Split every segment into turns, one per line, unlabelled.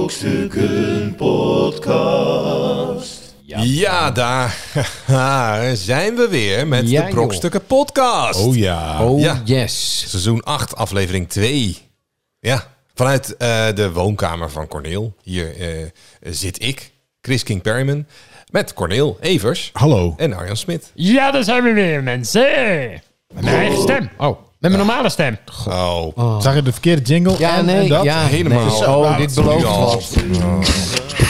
Brokstukken Podcast.
Ja, daar zijn we weer met
Ja,
de Brokstukken Podcast.
Oh ja.
Oh
Ja.
yes.
Seizoen 8, aflevering 2. Ja, vanuit eh, de woonkamer van Corneel. Hier eh, zit ik, Chris King Perryman, met Corneel Evers
Hallo.
en Arjan Smit.
Ja, daar zijn we weer, mensen. Met mijn eigen stem.
Oh.
Met mijn normale stem.
Oh,
Zag je de verkeerde jingle?
Ja,
en, en
nee.
dat?
ja,
helemaal.
nee. Zo,
Ja,
dit
dat
belooft
doe je al.
wat.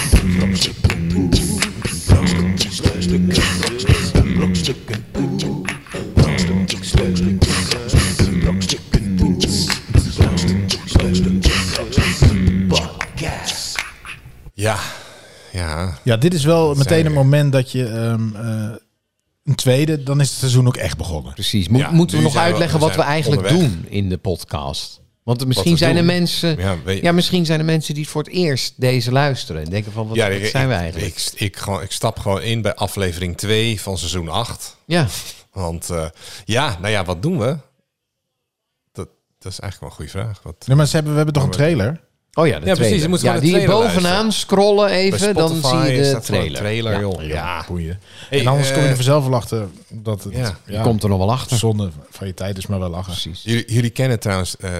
Ja, ja.
Ja, dit is wel meteen
Zijn
een
we.
moment dat je ehm, eh, een tweede, dan is het seizoen ook echt begonnen.
Precies. Mo-
Ja,
moeten we
nu
nog
zijn we-
uitleggen
we
wat we
zijn
eigenlijk
onderweg.
doen in de podcast? Want er-
Wat
misschien
we
zijn er
doen.
mensen.
Ja,
Ja,
weet-
misschien zijn er mensen die het voor het eerst deze luisteren. En denken van wat,
ja
wat
ik-
zijn we
ik-
eigenlijk?
Ik, ik, gewoon- ik stap gewoon in bij aflevering 2 van seizoen 8.
ja. Oh
Want eh, ja, nou ja, wat doen we? Dat, dat is eigenlijk wel een goede vraag. Wat,
Nee, maar ze hebben, we hebben toch een trailer?
Oh ja, de
Ja,
trailer.
precies, je moet
ja,
gewoon de
die
trailer
bovenaan
luisteren.
scrollen even,
Bij
dan
Spotify
zie je de
staat gewoon een
trailer. Ja.
joh.
Ah,
Ja.
Boeien.
Hey,
en anders
eh,
kom je er vanzelf wel achter dat het
Ja.
ja,
Je komt er nog wel achter.
zonde van je tijd is, maar wel lachen.
Precies.
Jullie, jullie kennen trouwens eh,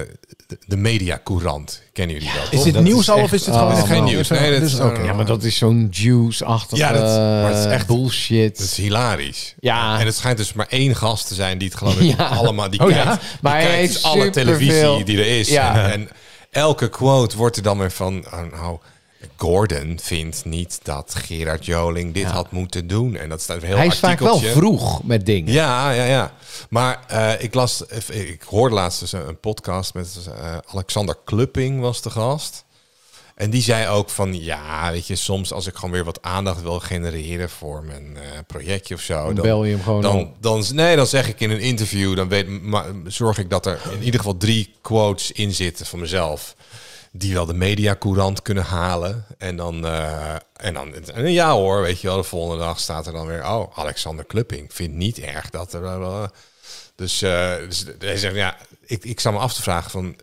de, de Media Courant. Kennen jullie dat?
Is
toch?
dit
dat
nieuws
is
al
echt-
of is dit
oh.
gewoon
Dit is
geen nieuws. Nee, dit
dus,
is- eh,
oké.
Ja, maar dat is zo'n juice-achtige
Ja, dat- maar het is echt-
bullshit.
Dat is hilarisch.
Ja.
En het schijnt dus maar één gast te zijn die het geloof ik
Ja.
allemaal... Die
Oh
kijkt,
ja?
die
Maar hij
kijkt
heeft
alle televisie
superveel.
die er is.
Ja.
En, en elke quote wordt er dan weer van... oh, nou, Gordon vindt niet dat Gerard Joling dit had moeten doen. En dat staat een heel
Hij is vaak wel
artikeltje.
vroeg met dingen.
Ja, ja, ja. Maar eh, ik las, eh, ik hoorde laatst dus een, een podcast met eh, Alexander Klupping was de gast. En die zei ook van, ja, weet je, soms als ik gewoon weer wat aandacht wil genereren voor mijn eh, projectje of zo. Dan
bel je hem gewoon
dan,
op.
dan, Nee, dan zeg ik in een interview, dan weet, maar, zorg ik dat er in ieder geval drie quotes in zitten van mezelf. Die wel de mediacourant kunnen halen. En dan, eh, en dan, en ja hoor, weet je wel, de volgende dag staat er dan weer, oh, Alexander Klupping vindt niet erg dat er... bla, bla, bla. Dus, eh, dus hij zegt, ja, ik, ik zou me af te vragen van,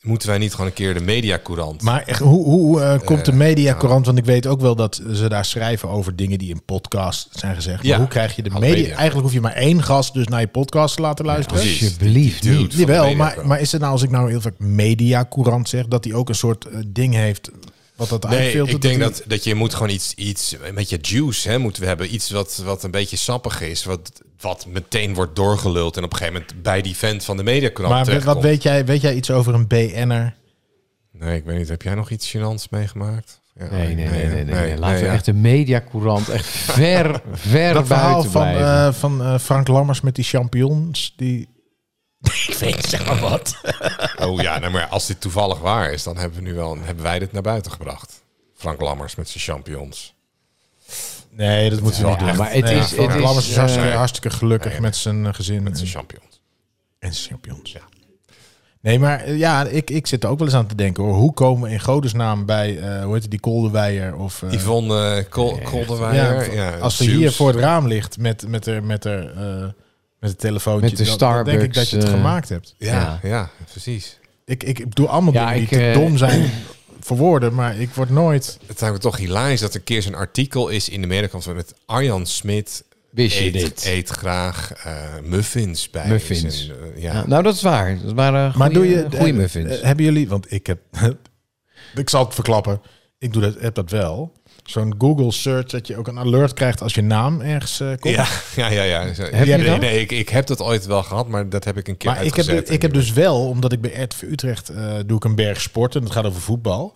moeten wij niet gewoon een keer de mediacourant...
Maar echt, hoe, hoe eh, komt de mediacorant? Want ik weet ook wel dat ze daar schrijven over dingen die in podcast zijn gezegd.
Ja.
Maar hoe krijg je de
Aan de
media?
media.
Eigenlijk hoef je maar één gast dus naar je podcast te laten luisteren.
precies.
Alsjeblieft
Die dude
niet.
van de
Jawel, maar,
mediacourant.
maar is het nou als ik nou heel vaak mediacourant zeg, dat hij ook een soort eh, ding heeft wat dat
Nee,
uitfiltert?
ik denk
hij-
dat, dat je moet gewoon iets, iets met je juice hè, moeten we hebben. Iets wat, wat een beetje sappig is. Wat, wat meteen wordt doorgeluld. En op een gegeven moment bij die vent van de mediakrant
Maar wat- wat weet jij, weet jij iets over een BN'er?
Nee, ik weet niet. Heb jij nog iets gênants meegemaakt? Ja,
Nee, nee, nee, nee. nee, nee. Laten we
ja.
echt de mediacourant echt ver, ver
Dat verhaal
buiten
van,
blijven.
eh, van eh, Frank Lammers met die champignons, die... ik weet zeg maar wat.
Oh ja, nou, maar als dit toevallig waar is, dan hebben, we nu wel, hebben wij dit naar buiten gebracht. Frank Lammers met zijn champions.
Nee, dat moeten we
Ja,
niet doen.
maar het
Nee,
is-
Frank
het is,
Lammers is
eh,
hartstikke, hartstikke gelukkig met zijn eh, gezin
Met
en,
zijn champions.
en zijn champignons. Nee, maar eh, ja, ik, ik zit er ook wel eens aan te denken hoor. Hoe komen we in godesnaam bij, eh, hoe heet het, die Koldewijer of... eh,
Yvonne eh, Kol-
Ja,
Kolderweijer. Ja,
als ze
Zeus.
hier voor het raam ligt met, met, er, met, er, eh, met het telefoontje,
Met de
dan- dan denk ik
Starbucks,
dat je het
eh,
gemaakt hebt.
Ja, ja. precies.
Ik, ik, ik doe allemaal
Ja,
dingen die
ik,
te
eh,
dom zijn voor woorden, maar ik word nooit...
Het lijkt me toch hilarisch dat er een keer zo'n artikel is in de mediakrant van met Arjan Smit
Wist je
eet,
dit?
eet graag eh, muffins bij.
Muffins.
zijn, eh, ja.
Ja, nou, dat is waar. Dat waren
Maar doe je...
goede
eh,
muffins.
eh, hebben jullie... Want ik heb... ik zal het verklappen. Ik doe dat, heb dat wel. Zo'n Google search dat je ook een alert krijgt als je naam ergens eh, komt.
Ja, ja, ja. ja. Zo-
je
nee,
dat?
nee, ik, ik heb dat ooit wel gehad, maar dat heb ik een keer
Maar ik heb,
uitgezet.
ik heb dus wel, omdat ik bij RTV Utrecht eh, doe ik een berg sport en dat gaat over voetbal.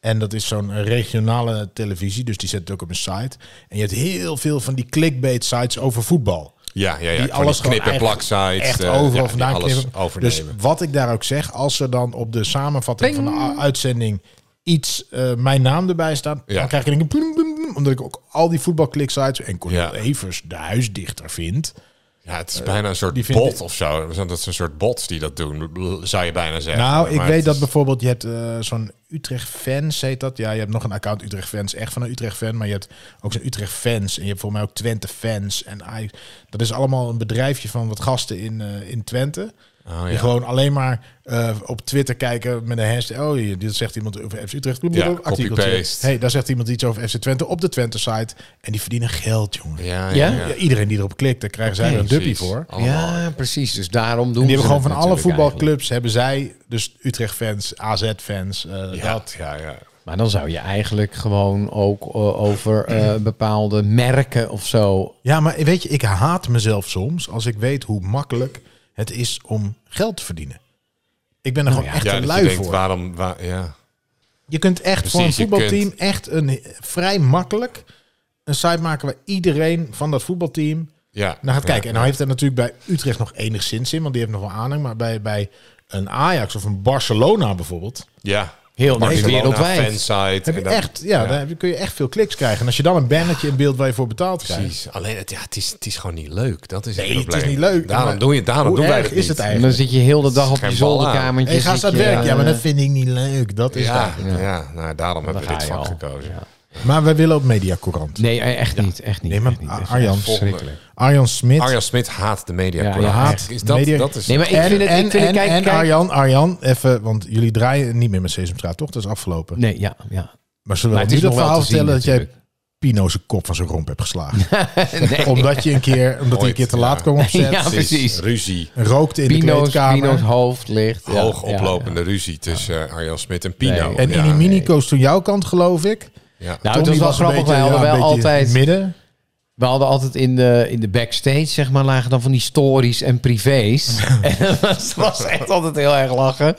En dat is zo'n regionale televisie, dus die zet het ook op een site. En je hebt heel veel van die clickbait sites over voetbal.
Ja, ja, ja.
die
gewoon
alles gewoon
knip- en
eigenlijk
plaksites.
Echt
eh,
overal
ja, die
vandaan
alles
knippen. Dus
overnemen.
wat ik daar ook zeg, als er dan op de samenvatting van de u- uitzending iets eh, mijn naam erbij staat,
Ja.
dan krijg ik een boem, boem, boem, omdat ik ook al die voetbalkliksites en Cornel
Ja.
Evers, de huisdichter, vind.
ja, het is bijna een
eh, die
soort
vind
bot
ik-
of zo. Dat is een soort bots die dat doen, zou je bijna zeggen.
Nou, ik
Maar
weet
het
dat
is-
bijvoorbeeld je hebt eh, zo'n Utrecht Fans, heet dat. Ja, je hebt nog een account Utrecht Fans, echt van een Utrecht fan. Maar je hebt ook zo'n Utrecht Fans en je hebt voor mij ook Twente Fans. En Ajax. dat is allemaal een bedrijfje van wat gasten in, eh, in Twente.
Oh,
Die
ja.
gewoon alleen maar eh, op Twitter kijken met een hashtag. Oh, hier, dit zegt iemand over FC Utrecht. Blablabla, artikeltje.
copy-paste.
hey, daar zegt iemand iets over FC Twente op de Twente-site. En die verdienen geld, jongen.
Ja,
Ja?
ja, ja.
Ja, iedereen die erop klikt, daar krijgen zij er een dubbie
Precies.
voor.
Allemaal.
Ja, precies. Dus daarom doen
En die
ze
hebben gewoon
het
van alle
natuurlijk eigenlijk.
voetbalclubs, hebben zij, dus Utrecht-fans, AZ-fans, eh,
Ja,
dat.
ja, ja.
Maar dan zou je eigenlijk gewoon ook eh, over eh, bepaalde merken of zo.
Ja, maar weet je, ik haat mezelf soms als ik weet hoe makkelijk het is om geld te verdienen. Ik ben er gewoon echt
ja
een
dat
lui
je denkt,
voor.
waarom... waar- ja.
Je kunt echt voor een
Precies, je
voetbalteam
kunt-
echt een vrij makkelijk een site maken waar iedereen van dat voetbalteam
Ja.
naar gaat
Ja.
kijken. En nou heeft dat natuurlijk bij Utrecht nog enigszins in, want die heeft nog wel aanhang. Maar bij, bij een Ajax of een Barcelona bijvoorbeeld,
Ja.
Heel
Barcelona
wereldwijd.
fansite.
heb
en
je
dat-
echt, ja, daar heb je- kun je echt veel kliks krijgen. En als je dan een bannertje in beeld waar je voor betaald krijgt.
Precies. Alleen het, ja, het, is, het is gewoon niet leuk. Dat is
Nee,
het
het
probleem.
is niet leuk.
Daarom,
Maar
doen, je, daarom
hoe
doen wij
erg
dat
is
niet.
het eigenlijk?
En dan zit je heel de dag op
Geen
je
bal aan.
zolderkamertje.
Hey, ga eens aan
zit
het
je,
werk. Ja, maar
eh,
dat vind ik niet leuk. Dat is
Ja,
ja.
ja. nou, daarom hebben we
ga
dit
je
vak
al.
gekozen.
Maar we willen ook mediacourant.
Nee, eh, echt niet. Echt niet.
Nee, maar
echt niet, echt niet.
Arjan,
Verschrikkelijk.
Arjan Smit.
Arjan Smit haat de media.
Ja,
Correct.
ja,
haat
is dat,
media-
dat is
Nee, maar ik
en,
vind het...
en,
ik vind het
en,
kijk,
en
kijk-
Arjan, Arjan, even, want jullie draaien niet meer met Sesamstraat, toch? Dat is afgelopen.
Nee, ja, ja.
Maar zullen
Maar
we
het
nu
is
dat
nog wel
verhaal
te zien,
vertellen dat jij
natuurlijk.
Pino zijn kop van zijn romp hebt geslagen?
Nee.
Omdat je een keer, omdat hij een
Ooit,
keer te
ja.
laat kwam op set,
Ja, precies.
Ruzie.
rookte in de
Pino's,
kleedkamer.
Pino's hoofd ligt. ja,
Hoog
ja, ja.
oplopende ruzie tussen eh, Arjan Smit en Pino.
Nee.
en
ja,
in die minico's toen jouw kant, geloof ik.
ja.
Nou,
Tommy
het was wel
een
grappig.
beetje,
wij hadden
ja, een
wel
beetje
altijd...
midden.
We hadden altijd in de, in de backstage, zeg maar, lagen dan van die stories en privés. en dat was, dat was echt altijd heel erg lachen.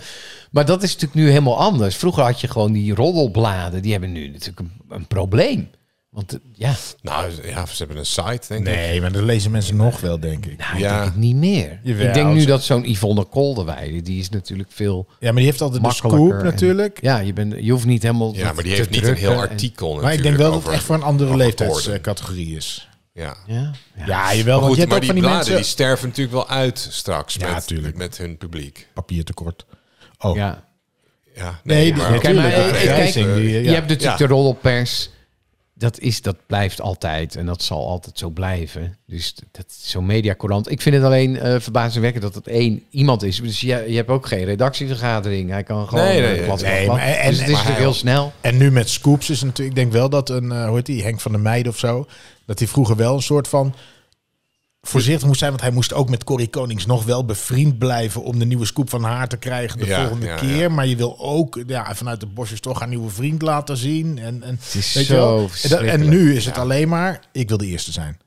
Maar dat is natuurlijk nu helemaal anders. Vroeger had je gewoon die roddelbladen. Die hebben nu natuurlijk een, een probleem. Want eh, ja,
Nou, ja, ze hebben een site, denk ik.
Nee, maar dat lezen mensen nog wel, denk ik.
nou, ik
Ja.
denk het niet meer.
Jawel,
ik denk nu
ze-
dat zo'n Yvonne Kolderweide, die is natuurlijk veel
Ja, maar die heeft altijd de
makkelijker.
scoop
en-
natuurlijk.
ja, je, bent, je hoeft niet helemaal
Ja,
dat
maar die
te
heeft niet een
drukken
heel
en-
artikel
Maar ik denk
natuurlijk
wel dat het
over-
echt voor een andere
over Gordon.
leeftijdscategorie is.
Ja.
Ja, ja.
Ja, jawel,
Maar
want je
goed,
hebt
maar
ook
die
van die
bladen
mensen...
die sterven natuurlijk wel uit straks
Ja, tuurlijk.
met, met hun publiek.
Papiertekort. Oh,
Ja.
Ja,
nee, die,
maar-
natuurlijk.
maar,
de
eh,
vergrijzing,
kijk,
die, eh, ja.
Je hebt natuurlijk
Ja.
de roddelpers. Dat, is, dat blijft altijd en dat zal altijd zo blijven. Dus t- dat is zo'n mediacourant. Ik vind het alleen eh verbazingwekkend dat het één iemand is. Dus je, je hebt ook geen redactievergadering. Hij kan gewoon...
Nee, nee,
eh,
nee.
plat, plat,
Nee,
plat.
maar- en-
dus het is
maar
natuurlijk
hij-
heel snel.
En nu met scoops is natuurlijk, ik denk wel dat een, eh hoe heet die, Henk van der Meijden of zo, dat hij vroeger wel een soort van voorzichtig moest zijn, want hij moest ook met Corrie Konings nog wel bevriend blijven om de nieuwe scoop van haar te krijgen de
Ja,
volgende
ja,
keer.
ja.
Maar je wil ook ja, vanuit de bosjes toch haar nieuwe vriend laten zien. En, en,
Het is
weet je wel?
zo
En dat- en
verschrikkelijk.
nu is het alleen maar, ik wil de eerste zijn.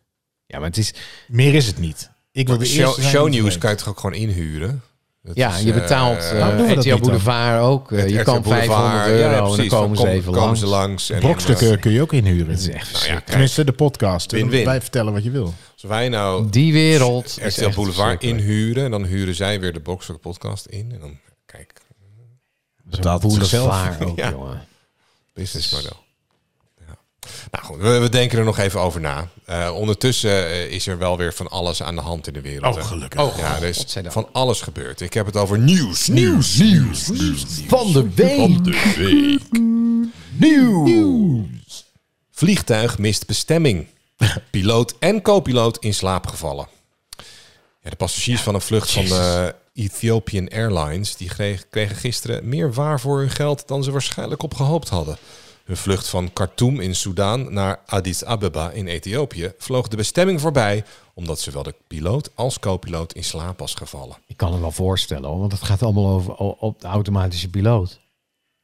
Ja, maar het is...
Meer is het niet. Ik wil de eerste
Show,
zijn.
shownieuws kan je toch ook gewoon inhuren? Dat
Ja,
is,
je
eh,
betaalt
eh,
eh
waarom doen we dat
RTL
niet dan?
Boulevard ook. eh, je
RTL
kan
Boulevard.
500
Ja,
euro en
precies,
dan komen ze even
komen
langs.
ze langs. En eh,
Brokstukken
dan,
kun je ook inhuren.
Dat is echt
eh, nou ja, kijk,
Tenminste, de podcast.
Win-win.
Wij vertellen wat je wil.
als wij nou
Die wereld is
RTL
echt
Boulevard
verschrikkelijk.
inhuren... en dan huren zij weer de Brokstukken podcast in. En dan, kijk,
Betaalt het zichzelf.
Boulevard ook,
Ja.
jongen.
businessmodel. Ja. Nou goed, we, we denken er nog even over na. Eh, ondertussen eh, is er wel weer van alles aan de hand in de wereld.
Oh,
hè.
gelukkig.
Oh, ja, er is
godzijdank.
van alles gebeurd. Ik heb het over nieuws, nieuws, nieuws, nieuws.
Van de week.
de week. Nieuws. Vliegtuig mist bestemming. Piloot en co-piloot in slaap gevallen. Ja, de passagiers van een vlucht van de Ethiopian Airlines... die kreeg- kregen gisteren meer waar voor hun geld... dan ze waarschijnlijk op gehoopt hadden. Hun vlucht van Khartoum in Soudaan naar Addis Ababa in Ethiopië... vloog de bestemming voorbij... omdat zowel de piloot als co-piloot in slaap was gevallen.
Ik kan het wel voorstellen, hoor, want het gaat allemaal over o- op de automatische piloot.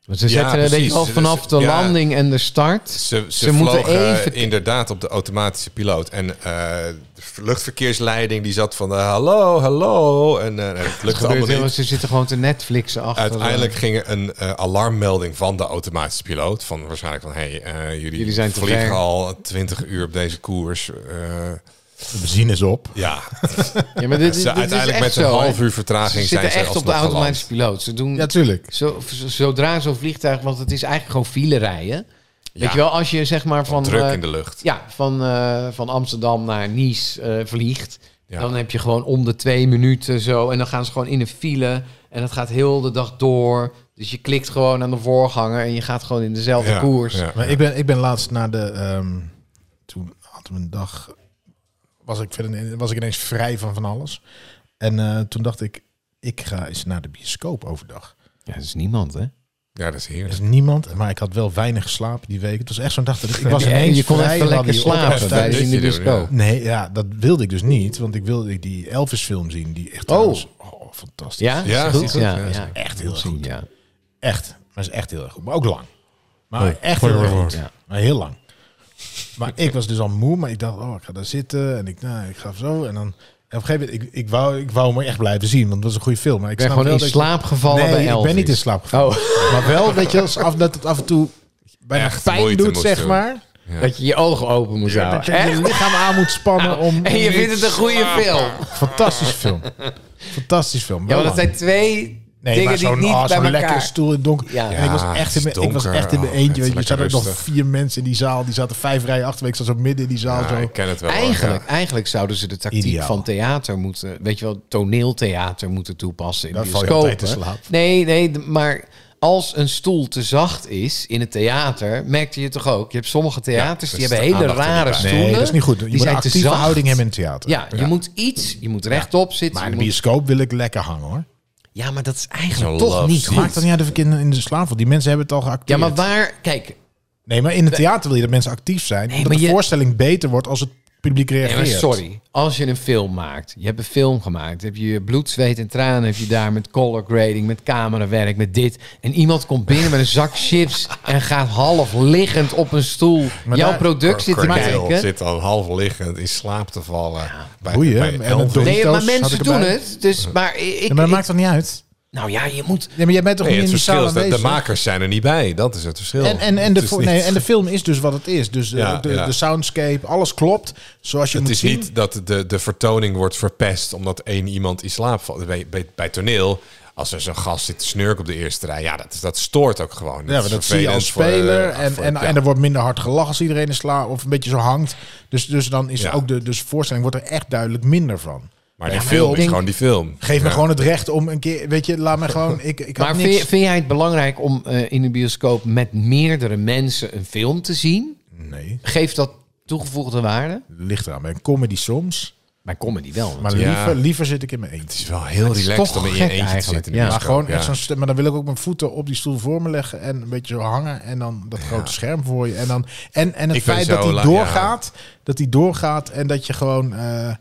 Want ze
Ja,
zetten er weet je
precies.
wel vanaf de
Ja.
landing en de start.
Ze, ze,
moeten
vlogen eh,
even.
inderdaad op de automatische piloot. En eh, de luchtverkeersleiding die zat van eh, hallo, hallo. En eh, het
Het
lukte
gebeurt
allemaal
heel,
niet.
ze zitten gewoon te Netflixen achter. eh.
Uiteindelijk ging er een eh, alarmmelding van de automatische piloot. Van waarschijnlijk van, hey, eh, jullie,
Jullie zijn te
vliegen
ver.
al 20 uur op deze koers. Eh,
De benzine is op.
ja,
Ja,
Ze-
maar dit, dit- dit is
uiteindelijk
echt
met een
zo,
half
hè.
uur vertraging
Ze
zijn
zitten
ze
echt op de
alsnog
automatische
geland.
piloot. Ze doen
Ja, tuurlijk.
zo, zo- zodra zo'n vliegtuig, want het is eigenlijk gewoon file rijden.
Ja.
Weet je wel, als je zeg maar van
Druk
eh,
in de lucht.
Ja, van, eh, van Amsterdam naar Nice eh, vliegt.
Ja.
Dan heb je gewoon om de twee minuten zo. En dan gaan ze gewoon in een file. En dat gaat heel de dag door. Dus je klikt gewoon aan de voorganger. En je gaat gewoon in dezelfde
Ja,
koers.
ja.
Maar ik, ben, ik ben laatst naar de. ehm, toen hadden we een dag. Was ik, verder, was ik ineens vrij van van alles. En eh, toen dacht ik. ik ga eens naar de bioscoop overdag.
Ja, dat is niemand, hè?
Ja, dat is
Er
heerlijk.
is niemand, maar ik had wel weinig geslapen die week. Het was echt zo'n dag dat ik, ik was
Ja,
ineens
je kon
vrij,
even
ik had
lekker
die
slapen
opdracht
thuis.
tijdens in de
Dit is het, ja.
bioscoop.
Nee, ja, dat wilde ik dus niet, want ik wilde die Elvis film zien, die echt trouwens- oh, fantastisch.
Ja?
Ja,
Is het goed?
is
Ja,
goed. Ja,
ja.
Echt heel erg goed.
Ja.
Echt, maar is echt heel erg goed, maar ook lang. Maar
Nee.
echt heel erg
Ja.
goed. Maar heel lang. Maar ik was dus al moe, maar ik dacht, oh, ik ga daar zitten en ik, nou, ik ga zo en dan en op een gegeven moment, ik, ik wou, ik wou hem echt blijven zien, want het was een goede film. Maar ik
Ik ben gewoon
snap
in
wel dat je-
slaap gevallen
nee,
bij Elvis.
ik ben niet in slaap gevallen.
Oh,
Maar wel, weet je, als af, dat het af en toe bijna
Echt
pijn
moeite
doet,
moest
zeg
doen.
maar.
dat je je ogen open moest
Dat je
houden.
je lichaam aan moet spannen om... om
Nou, En je
niet-
vindt het een goede film.
Fantastische film. Fantastische film.
Ja,
Wel
maar dat
lang.
zijn twee dingen die
zo'n-
niet
ah,
bij
zo'n
elkaar...
lekkere stoel in het donker.
Ja.
En ik was
Ja,
echt in
het
mijn,
is
ik was
donker.
echt in mijn
Oh,
eentje.
het is
Weet je, er
lekker
zaten ook nog
rustig.
vier mensen in die zaal. Die zaten vijf rijen achter. Ik zat zo midden in die zaal.
Ja,
zo.
ik ken het wel. hoor.
Eigenlijk, eigenlijk zouden ze de tactiek
Ideaal.
van theater moeten, weet je wel, toneeltheater moeten toepassen in
Dan val je
bioscopen.
altijd in slaap.
Nee, nee, d- maar als een stoel te zacht is in het theater, merkte je toch ook. Je hebt sommige theaters
dus
die
de
hebben hele
aandacht er niet
rare
bij.
stoelen.
Nee, dat is niet goed. Je
die
moet
zijn
een
te
actieve
zacht.
houding hebben in het theater.
Ja, je moet iets, je moet rechtop zitten.
Maar
je
in de
moet-
bioscoop wil ik lekker hangen hoor.
ja, maar dat is eigenlijk
Zo'n
toch
love
niet
seat.
Maakt dat
goed.
niet uit of ik in, in de slaap val. Die mensen hebben het al geacteerd.
Ja, maar waar, kijk,
Nee, maar in het theater wil je dat mensen actief zijn.
Nee,
omdat
maar
de
je-
voorstelling beter wordt als het publiek
Nee, maar
reageert.
sorry, als je een film maakt, je hebt een film gemaakt, heb je je bloed, zweet en tranen, heb je daar met color grading, met camerawerk, met dit. En iemand komt binnen met een zak chips en gaat half liggend op een stoel
Maar
jouw
daar-
product zitten
Cornel
kijken.
zit al half liggend in slaap te vallen. Bij,
Boeien,
bij
en
Elvis.
het
Nee, maar
Doritos had
mensen
ik
doen
erbij.
het. Dus, maar ik,
Ja, maar dat
ik-
maakt toch niet uit?
nou ja, je moet.
Ja, maar jij bent toch
Nee,
niet
het
in de zaal
verschil is dat de
aanwezig?
makers zijn er niet bij. Dat is het verschil.
En, en, en, de,
Oh, Het is
vo-
niet-
nee, en de film is dus wat het is. Dus de,
Ja,
de,
ja.
de soundscape, alles klopt zoals je
Het
moet
is
zien.
niet dat de, de vertoning wordt verpest omdat één iemand in slaap valt. Bij, bij, bij toneel, als er zo'n gast zit te snurken op de eerste rij, ja, dat, dat stoort ook gewoon.
ja, maar
is
dat zie je als
vervelend voor de-
speler. en,
voor-
en,
ja.
en er wordt minder hard gelachen als iedereen in sla of een beetje zo hangt. Dus, dus dan is
Ja.
ook de dus voorstelling wordt er echt duidelijk minder van.
maar
Ja,
die
maar
film
ik
is
denk-
gewoon die film.
Geef me
Ja.
gewoon het recht om een keer, weet je, laat me gewoon. Ik, ik had
Maar
niks.
vind, je- vind jij het belangrijk om eh, in de bioscoop met meerdere mensen een film te zien?
Nee,
Geeft dat toegevoegde waarde?
ligt eraan. Bij een comedy soms.
Bij comedy wel.
Maar
Ja.
liever, liever zit ik in mijn eentje.
Het is wel heel
is
relaxed
toch
om in je
gek
eentje te
eigenlijk,
zitten. in de
ja.
Maar
bioscoop,
gewoon echt
ja.
zo'n st- maar dan wil ik ook mijn voeten op die stoel voor me leggen en een beetje zo hangen en dan dat grote scherm voor je en dan en en het
Ik ben
feit
zo
dat die
la-
doorgaat, dat die doorgaat en dat je gewoon eh,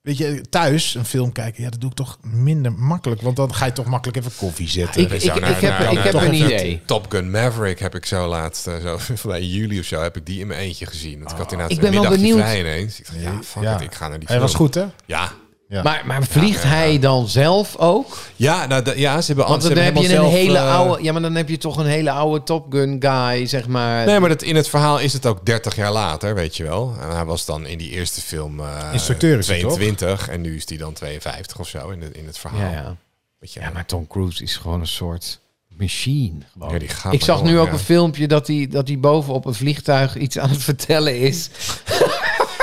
weet je thuis een film kijken, ja dat doe ik toch minder makkelijk, want dan ga je toch makkelijk even koffie zetten.
Ik-
Ik, ik,
ik heb-
heb,
ik heb
een
een
idee.
idee.
Top Gun Maverick heb ik zo laatst, eh, zo, van bij juli of zo, heb ik die in mijn eentje gezien. Want ik
Oh.
had inderdaad
Ik ben
een
wel
middagje
benieuwd.
vrij ineens. Ik dacht, ja, fuck
Ja.
it, ik ga naar die
Hij
film.
was goed hè?
Ja,
Ja.
Maar, maar vliegt hij dan zelf ook?
ja, nou, da- ja ze hebben
Want
ze
dan
hebben
heb je een
helemaal zelf,
hele
eh,
oude. Ja, maar dan heb je toch een hele oude Top Gun guy, zeg maar.
Nee, maar dat, in het verhaal is het ook 30 jaar later, weet je wel. En hij was dan in die eerste film eh,
Instructeur is hij, toch?
22 en nu is hij dan 52 of zo in, de, in het verhaal.
ja, ja.
Weet je,
ja, maar Tom Cruise is gewoon een soort machine. Gewoon.
Ja, die gaat
ik
maar
zag
door,
nu ook
ja.
een filmpje dat hij dat hij boven op een vliegtuig iets aan het vertellen is.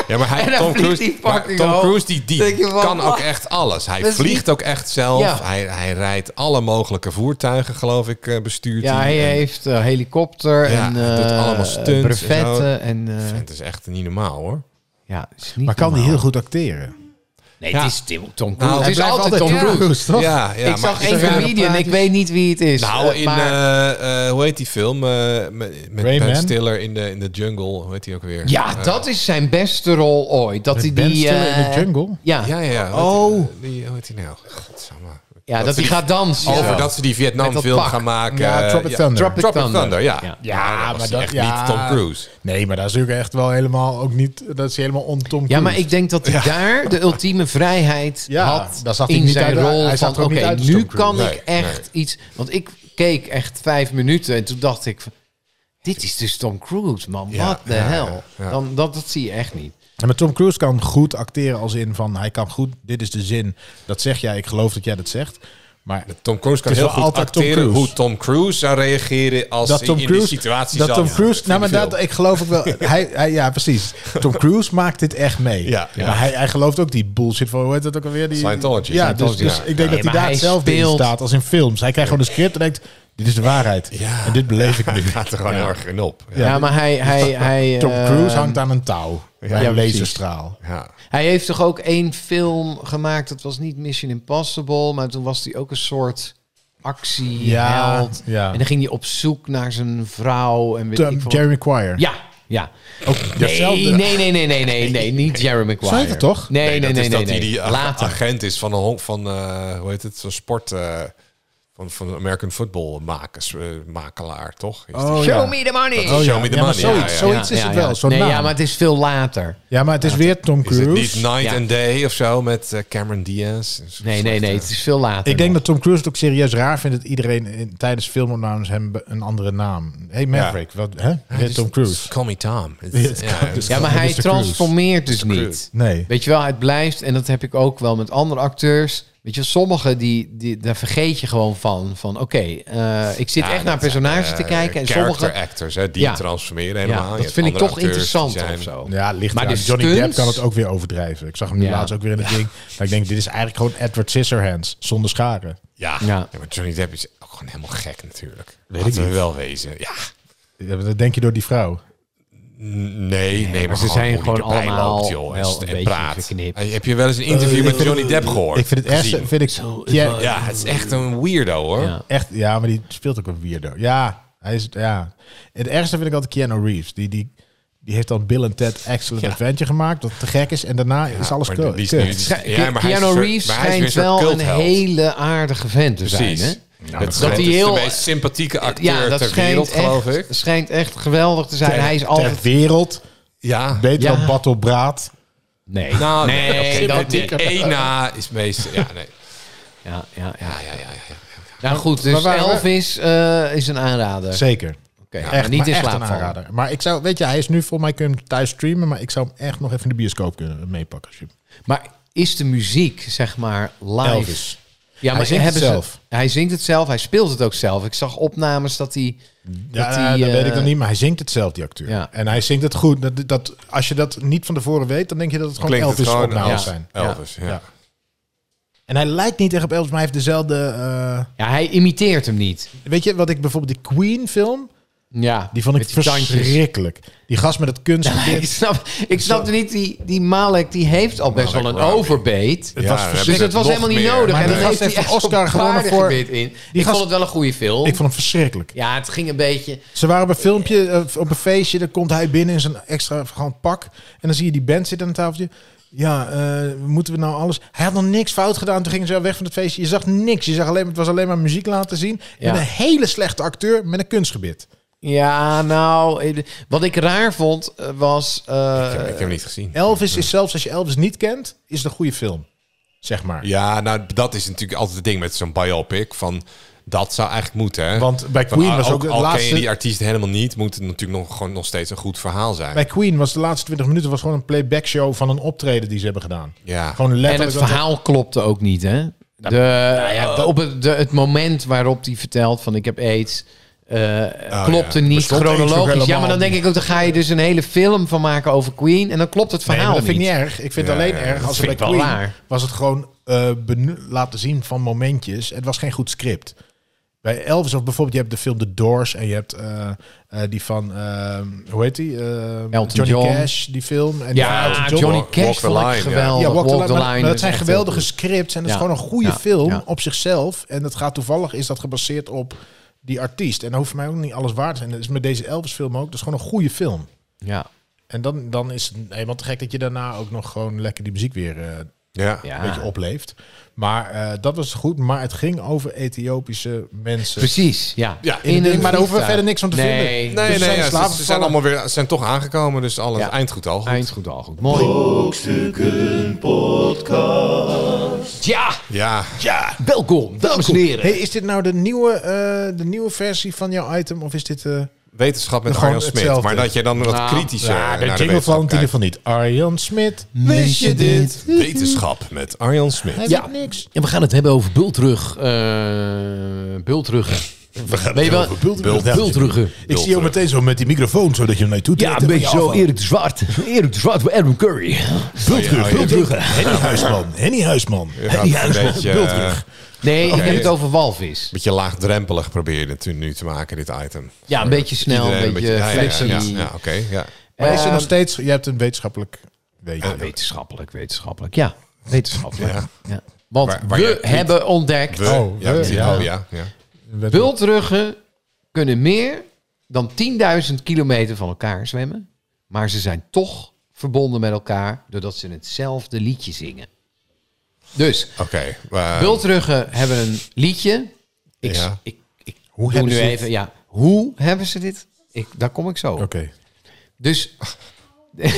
Ja, maar
En
hij,
dan
Tom
vliegt
Cruise,
die
maar
fucking
Tom
hoog.
Cruise die,
Denk je
die
van,
kan ook
wat?
echt alles. Hij
Dat is
vliegt
niet-
ook echt zelf.
Ja.
Hij, hij rijdt alle mogelijke voertuigen, geloof ik, eh, bestuurt
Ja, hij
En
heeft eh, helikopter
Ja,
en
doet
eh,
allemaal stunts en
brevetten en, eh,
Het is echt niet normaal, hoor.
ja, is niet
Maar kan hij
normaal.
heel goed acteren?
Nee,
Ja.
het is Tim- Tom Cruise.
Nou,
het
hij
is
blijft
altijd Tom
altijd
Cruise.
toch?
Ja, ja,
ik zag
is
één
er-
comedian, ik weet niet wie het is.
Nou,
eh,
in,
maar-
eh, eh, hoe heet die film? eh, met met
Rain
Ben
Man?
Stiller in de, in de jungle, hoe heet die ook weer?
Ja,
Eh,
dat is zijn beste rol ooit. Dat hij
Met Ben
die.
Stiller in
eh,
de jungle.
Ja,
Ja, ja.
ja,
ja.
Oh.
Die, die- hoe heet die nou? Godsamme.
dat, hij
die-
gaat dansen.
Over
Ja.
dat ze die
Met dat
Vietnam-film
pak.
gaan maken.
Ja,
eh,
Tropic Thunder.
Tropic
Tropic Thunder,
Thunder,
ja.
ja.
Ja,
dat was
maar dat-
echt
ja.
niet Tom Cruise.
Nee, maar daar is natuurlijk echt wel helemaal ook niet dat is helemaal ontom.
Ja, maar ik denk dat hij daar de ultieme vrijheid
Ja,
had
daar zat hij
in
niet
zijn
uit- hij
rol
zat
van
er ook
oké,
niet uit als
nu
Tom Cruise.
kan
Nee,
ik echt iets. Want ik keek echt vijf minuten en toen dacht ik, van, dit is dus Tom Cruise, man.
Ja,
Wat de
ja,
hel.
ja, ja.
Dan, dat, dat zie je echt niet.
En maar Tom Cruise kan goed acteren als in van hij kan goed. Dit is de zin. Dat zeg jij. Ik geloof dat jij dat zegt. Maar
Tom Cruise kan
Het is
heel goed
wel altijd Tom
acteren
Cruise.
hoe Tom Cruise zou reageren als
dat
hij
Tom
in
Cruise
die situatie
dat
zat.
Tom
Ja,
Cruise.
vind
nou, maar
ik veel.
dat ik geloof ook wel. Hij, hij, ja, precies. Tom Cruise maakt dit echt mee.
Ja, ja.
Maar hij, hij gelooft ook die bullshit van hoe heet dat ook alweer die
Scientology.
Ja, dus,
Scientology,
dus
ja.
ik denk
Nee,
dat hij
maar
daar
hij
hetzelfde in
speelt-
staat als in films. Hij krijgt gewoon een script en denkt Dit is de waarheid.
Ja.
En dit beleef ik nu.
Gaat er gewoon heel erg in op. Ja.
Ja, maar hij... hij, hij
dus Tom
eh,
Cruise hangt aan een touw. bij
Ja,
een
precies.
laserstraal.
Ja.
Hij heeft toch ook één film gemaakt, dat was niet Mission Impossible, maar toen was hij ook een soort actieheld.
ja.
En dan ging hij op zoek naar zijn vrouw en weet
Tom-
ik veel.
Jeremy Quire.
Ja, ja.
Ook
Nee,
datzelfde-
nee, nee, nee, nee, nee, nee, niet Jeremy Maguire.
Zijn we toch?
Nee, nee, nee,
dat
nee.
is dat
nee.
hij die ah, ag-
Later.
agent is van een hon- van eh, hoe heet het, van sport eh, van van American football makers eh, makelaar, toch? Is die-
ja.
Show me the money.
Oh,
Show me the
ja,
money.
maar Zoiets,
Ja, ja,
zoiets Oh, is het wel. Zo'n
nee,
naam.
ja, maar het is veel later.
het is weer Tom
Is het
Cruise.
niet Night
Ja.
and Day of zo met eh, Cameron Diaz? Is een
Nee, nee, nee,
slechte-
het is veel later.
Ik denk dat Tom Cruise het ook serieus raar vindt dat iedereen in- tijdens filmopnames hem be- een andere naam. Hey Maverick, wat, hè?
Ja,
Dit
dus-
Tom Cruise.
Call me Tom. Het-
Ja, het
ja,
kan- dus-
Ja, maar
Mr.
hij
Cruise.
transformeert dus
Cruise.
niet.
Nee.
Weet je wel, het blijft, en dat heb ik ook wel met andere acteurs. Weet je, wel, sommigen die, die daar vergeet je gewoon van. Van oké, eh, ik zit
Ja, dat
echt naar
zijn,
personages
eh,
te kijken. En
character
sommige.
actors, hè, die
Ja.
transformeren helemaal.
Ja,
Je
dat
hebt
vind ik
andere
toch
acteurs die
interessant
zijn-
of zo.
Ja, het ligt
Maar
maar
de
Johnny Depp
stunts-
kan het ook weer overdrijven. Ik zag hem nu
Ja.
laatst ook weer in het ding. Maar ik denk, dit is eigenlijk gewoon Edward Scissorhands zonder scharen.
Ja.
Ja.
Ja, maar Johnny Depp is ook gewoon helemaal gek natuurlijk. Weet ik we wel wezen. Ja.
Ja, Dat denk je door die vrouw.
N- Nee, nee, maar,
maar ze zijn
hoe die
gewoon
erbij
allemaal
loopt, joh, en
wel
st-
een
en
beetje
praat.
geknipt.
Hey, Heb je wel eens een interview met Johnny Depp gehoord?
Ik vind het echt,
Gezien?
vind ik, ja,
Ja, het is echt een weirdo hoor.
Ja.
echt, ja, maar die speelt ook een weirdo. Ja, hij is, ja. Het ergste vind ik altijd Keanu Reeves. Die, die, die heeft dan Bill en Ted Excellent Adventure gemaakt, dat te gek is. En daarna is alles
maar
kut.
die is
kut.
nu- die is-
Scha-
Ja, maar hij is een
Keanu
soort-
Reeves
maar hij is weer
schijnt
een soort
wel een
cultheld.
hele aardige vent te zijn.
Precies.
Hè?
Nou, dat
dat
dat
hij
is
heel-
de meest sympathieke acteur
Ja, dat
ter
schijnt,
wereld,
echt,
geloof ik.
schijnt echt geweldig te zijn.
Ter-
hij is
ter
altijd...
wereld,
Ja.
beter
Ja.
dan Battle Braat.
Nee,
Nou,
nee,
oké,
dat
die
niet.
Ena is meest... Ja, nee. Ah,
Ja, ja, ja.
Ja, ja, ja, ja. ja.
Nou goed, dus
Maar waar- waar-
Elvis eh, is een aanrader.
Zeker.
Oké,
Ja,
maar
echt,
niet
maar
in
echt
slaap
een
vallen.
aanrader. Maar ik zou, weet je, hij is nu voor mij kunnen thuis streamen, maar ik zou hem echt nog even in de bioscoop kunnen meepakken. Als je...
Maar is de muziek, zeg maar, live?
Elvis.
Ja, maar
Hij zingt
hebben
het
ze-
zelf.
hij zingt het zelf, hij speelt het ook zelf. Ik zag opnames dat hij...
Ja,
Dat die,
dat weet
eh,
ik dan niet, maar hij zingt het zelf, die acteur.
Ja.
En hij zingt het goed. Dat, dat, als je dat niet van tevoren weet, dan denk je dat het gewoon
Klinkt het
Elvis
gewoon
opnames
ja.
zijn.
Elvis, ja.
Ja. En hij lijkt niet echt op Elvis, maar hij heeft dezelfde... eh,
Ja, hij imiteert hem niet.
weet je, wat ik bijvoorbeeld die Queen-film,
Ja,
die vond ik
met die tandjes.
verschrikkelijk. Die gast met het kunstgebied.
Ik snap, ik snap niet, die, die Malek die heeft al best
Malek
wel een
Robbie.
overbeet.
Ja,
was
dan
verschrikkelijk.
hebben
Dus
ze
dat was
nog
helemaal niet
meer.
nodig.
Maar
en
die
dan
gast
heeft hij
heeft
echt
een Oscar
zo'n
gewonnen voor-
paardengebit in. ik
gast-
vond het wel een goede film.
Ik vond hem verschrikkelijk.
Ja, het ging een beetje...
Ze waren op een filmpje, eh, op een feestje, dan komt hij binnen in zijn extra gewoon pak. En dan zie je die band zitten aan het tafeltje. Ja, eh, moeten we nou alles... Hij had nog niks fout gedaan, toen gingen ze weg van het feestje. Je zag niks, je zag alleen, het was alleen maar muziek laten zien.
Ja.
En een hele slechte acteur met een kunstgebit.
Ja, nou, eh, wat ik raar vond eh, was... eh,
Ik heb hem niet gezien.
Elvis is zelfs, als je Elvis niet kent, is het een goede film. Zeg maar.
Ja, nou, dat is natuurlijk altijd het ding met zo'n biopic. Van, dat zou eigenlijk moeten, hè?
Want bij
Van,
Queen
ah,
was ook het
al ken je
laatste...
die artiest helemaal niet, moet het natuurlijk nog, gewoon nog steeds een goed verhaal zijn.
Bij Queen was de laatste 20 minuten was gewoon een playback show van een optreden die ze hebben gedaan.
ja.
Gewoon
En
letterlijk.
het verhaal klopte ook niet, hè? De,
Nou
eh, op het, de- het moment waarop hij vertelt van ik heb aids, eh, klopte
ja.
niet
Oh, Bestond aids ook
chronologisch.
helemaal
Ja, maar dan denk ik ook, dan ga je dus een hele film van maken over Queen en dan klopt het
Nee, maar
verhaal
dat vind
niet.
ik niet erg. Ik vind het
Ja,
alleen
ja,
erg
dat
als
vind
het
ik
bij
wel
Queen
raar.
was het gewoon eh, benu- laten zien van momentjes. Het was geen goed script. Bij Elvis of bijvoorbeeld, je hebt de film The Doors en je hebt eh, eh, die van, eh, hoe heet die? Eh,
Elton
Johnny
John.
Cash, die film. En
Ja,
die van Elton John.
Johnny
Walk the
Cash vond ik
Line, ja.
geweldig.
Ja, Walk the Line. Maar- maar dat
is
zijn
echt
geweldige
heel goed.
scripts en dat
Ja.
is gewoon een goede
Ja.
film
Ja.
op zichzelf. En dat gaat toevallig, is dat gebaseerd op die artiest. En dat hoeft voor mij ook niet alles waard te zijn. Dat is met deze Elvis film ook. Dat is gewoon een goede film.
Ja,
En dan, dan is het helemaal te gek dat je daarna ook nog gewoon lekker die muziek weer eh,
ja.
ja.
een beetje opleeft. Maar eh, dat was goed. Maar het ging over Ethiopische mensen.
precies. Dus- Ja.
Ja,
In de-
een
maar daar hoeven we
vliegtuig.
verder niks van te
nee.
vinden.
Nee,
Dus
nee,
ze zijn
ja,
slaven
ze, ze zijn
gevallen.
allemaal weer, ze zijn toch aangekomen, dus al
Ja.
het eind goed al. Goed.
Eind goed, al goed. Mooi. Brokstukken podcast. Ja,
Ja,
ja. Welkom, dames en heren.
Hey, is dit nou de nieuwe, eh, de nieuwe versie van jouw item? Of is dit... eh
wetenschap met
Gewoon
Arjan Smit.
hetzelfde.
Maar dat je dan wat
Nou,
kritischer naar de
jingle
wetenschap
van in ieder
kijkt.
geval niet. Arjan Smit.
Wist je dit?
Wetenschap met Arjan Smit.
Hij
Ja.
weet niks.
En we gaan het hebben over bultrug. eh bultruggen.
We gaan
Weet je
het
wel?
over Bultruggen.
Bult- Bultruggen.
Ik zie jou meteen zo met die microfoon, zodat je hem naar je toe trekt.
Ja, een
Dan
beetje
moet je
zo
afvallen.
Erik de Zwart. Erik de Zwart voor Adam Curry.
Bultruggen.
Oh, ja, oh, ja.
Bultruggen. Henny Huisman. Henny Huisman. Henny
gaat een
Huisman.
beetje, eh,
Bultruggen.
Nee, ik
Oké.
heb het over walvis.
beetje laagdrempelig probeer je het nu te maken, dit item.
Ja, een beetje snel,
Iedereen
een beetje
ja, ja,
flexie. Ehm,
ja, ja, ja, oké. ja.
Maar is er nog steeds... Je hebt een wetenschappelijk... Weet
Ja, wetenschappelijk, wetenschappelijk. Ja, wetenschappelijk. Ja.
Ja.
Want
Waar- waar
we
je-
hebben ontdekt...
We-
Oh,
ja,
we-
precies.
ja.
Oh, ja, ja.
Bultruggen kunnen meer dan 10.000 kilometer van elkaar zwemmen. Maar ze zijn toch verbonden met elkaar doordat ze hetzelfde liedje zingen. Dus
Oké. eh,
Oh.
maar-
bultruggen hebben een liedje. Ik,
Ja.
ik, ik
Hoe
doe
hebben
nu
ze dit? Oh.
even. Ja, hoe hebben ze dit? Ik, daar kom ik zo. op.
Oké.
Dus.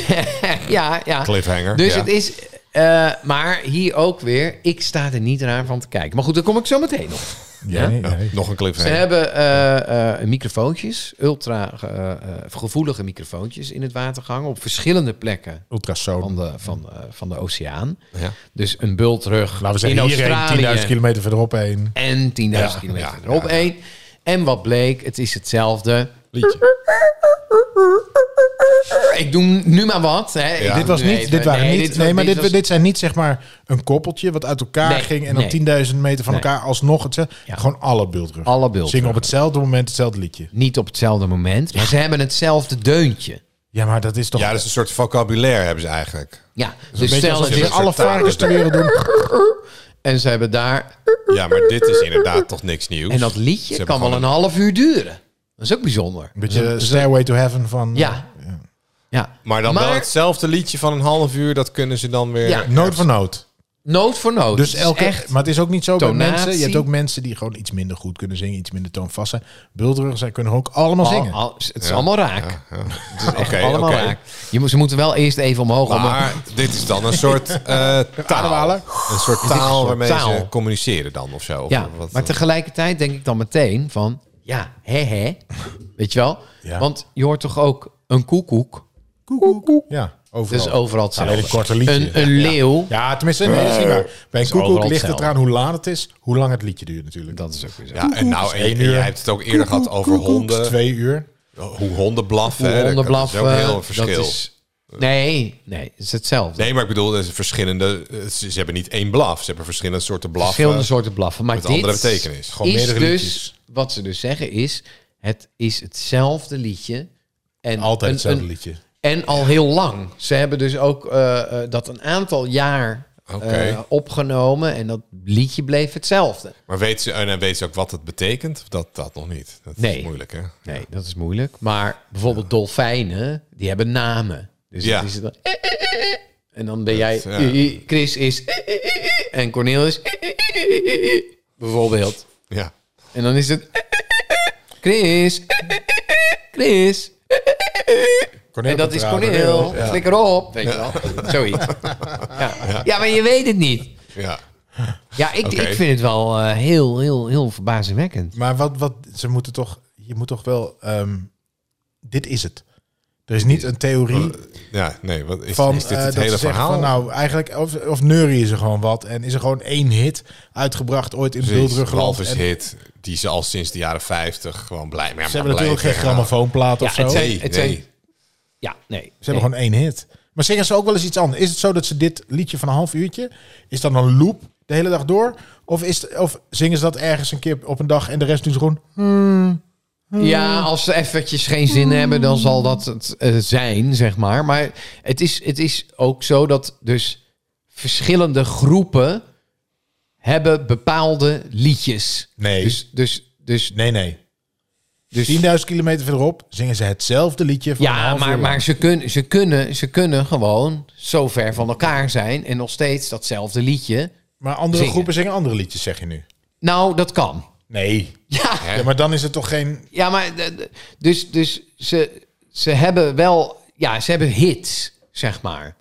ja, ja.
Cliffhanger,
Dus
ja.
het is. eh, maar hier ook weer. Ik sta er niet raar van te kijken. Maar goed, daar kom ik zo meteen op.
Ja, nee, nee.
Nog een
Ze
cliffhanger.
hebben eh, eh, microfoontjes, ultra eh, eh, gevoelige microfoontjes in het water gehangen op verschillende plekken
Ultrasoon.
van de, van, eh, van de oceaan.
Ja.
Dus een bultrug
Laten we
in
zeggen hierheen, 10.000
Australië
kilometer verderop heen.
en 10.000
Ja,
kilometer
ja,
erop
ja.
heen. En wat bleek, het is hetzelfde.
Liedje.
Ik doe nu maar wat. Hè. Ik-
Dit was
nee,
niet, dit waren niet,
was-
nee, maar dit,
was-
dit zijn niet zeg maar een koppeltje wat uit elkaar
Nee,
ging en
nee.
dan 10.000 meter van
Nee.
elkaar alsnog het,
Ja.
gewoon alle bultruggen.
Alle bultruggen.
Zingen op hetzelfde moment hetzelfde liedje.
niet op hetzelfde moment, maar ze hebben hetzelfde deuntje.
Ja, maar dat is toch
Ja, dat is een soort vocabulaire hebben ze eigenlijk.
Ja, dus,
een beetje
stel
alsof
dat
je
je
dit
met
alle
soort taal-
varkens ter wereld doen.
en ze hebben daar
Ja, maar dit is inderdaad toch niks nieuws.
En dat
Ze
liedje
hebben
kan wel
gewoon
een half uur duren. Dat is ook bijzonder.
Een beetje eh, Stairway to Heaven van... eh,
Ja. ja.
Maar dan wel hetzelfde liedje van een half uur, dat kunnen ze dan weer...
Ja.
eh, Nood voor nood.
nood voor nood.
Dus
Het is
elke,
echt.
maar het is ook niet zo bij
tonatie.
mensen. Je hebt ook mensen die gewoon iets minder goed kunnen zingen, iets minder toonvast zijn. Bultruggen, zij kunnen ook allemaal zingen.
al- al- het is allemaal raak.
Oké,
allemaal
oké.
raak. Je, moet- ze moeten wel eerst even omhoog. om-
Maar dit is dan een soort eh, taal.
Ademhalen.
Een soort
is een
taal
soort
waarmee ze
taal.
communiceren dan of zo. Of
ja,
wat-
maar tegelijkertijd denk ik dan meteen van... Ja, hè hè. Weet je wel?
Ja.
Want je hoort toch ook een koekoek? Koekoek.
Ja,
Dat
overal.
is overal
een
hetzelfde.
hele korte liedje.
Een, een leeuw.
Ja, tenminste, nee, dat is niet waar. Bij een koekoek
overal
ligt het
hetzelfde.
eraan hoe laat het is, hoe lang het liedje duurt natuurlijk.
Dat is ook weer zo.
ja, en nou, en,
Eén
en
uur.
jij hebt het ook eerder gehad over
Dat is
eh,
honden.
twee uur.
Hoe honden blaffen.
Hoe
hè, dat-
honden blaffen.
Dat is ook heel een
dat
verschil.
is- nee, nee. Het is hetzelfde.
Nee, maar ik bedoel, dat is verschillende, eh, ze, ze hebben niet één blaf. Ze hebben verschillende soorten blaffen.
verschillende soorten blaffen. Maar
met
dit
andere betekenis. Gewoon
is
meerdere
dus,
liedjes.
wat ze dus zeggen is, het is hetzelfde liedje. En
Altijd
een-
hetzelfde
een-
liedje.
En al heel lang. Ze hebben dus ook eh, eh, dat een aantal jaar eh,
Oké.
opgenomen en dat liedje bleef hetzelfde.
Maar weet ze, en dan weet ze ook wat het betekent? Of Dat, dat nog niet. Dat
Nee.
is moeilijk, hè?
Nee, dat is moeilijk. Maar bijvoorbeeld dolfijnen, die hebben namen. Dus
Ja.
dat is dan... eh, En dan ben jij... eh,
ja.
Chris is... eh, En eh, Cornelis... eh, Bijvoorbeeld.
Ja.
En dan is het... Chris! Chris!
Cornel
En dat is
Contrada.
Cornel. Flikker op. Weet je wel. Zoiets. Ja. ja, maar je weet het niet.
ja.
Ja, ik,
Oké.
ik vind het wel eh, heel, heel, heel verbazingwekkend.
Maar wat, wat, ze moeten toch, je moet toch wel, ehm, dit is het. Er is niet een
Oh.
theorie
Ja, nee. Wat, is,
van
is dit
eh,
het
dat
hele
ze zeggen
verhaal?
Van, nou, eigenlijk, of, of neurieën ze gewoon wat. En is er gewoon één hit uitgebracht ooit in
Precies,
Bultruggenland.
Walvis
En
hit, die ze al sinds de jaren 50 gewoon blij mee
Ze hebben natuurlijk geen grammofoonplaat of
Ja, het
zo.
zijn-
Nee,
Het
nee.
Ja, nee.
Ze hebben gewoon één hit. Maar zingen ze ook wel eens iets anders? Is het zo dat ze dit liedje van een half uurtje, is dan een loop de hele dag door? Of, is, of zingen ze dat ergens een keer op een dag en de rest doen ze gewoon...
Ja, als ze eventjes geen zin hebben, dan zal dat het eh, zijn, zeg maar. Maar het is, het is ook zo dat dus verschillende groepen hebben bepaalde liedjes.
Nee.
Dus, dus, dus,
Nee, nee.
dus
10.000 kilometer verderop zingen ze hetzelfde liedje van een
ja,
half
maar,
uur.
maar ze, kunnen, ze, kunnen, ze kunnen gewoon zo ver van elkaar zijn en nog steeds datzelfde liedje.
Maar andere
zingen.
groepen zingen andere liedjes, zeg je nu.
Nou, dat kan.
Nee.
Ja,
Ja, maar dan is het toch geen...
ja maar de- de- dus, dus ze, ze hebben wel, ja, ze hebben hits, zeg maar.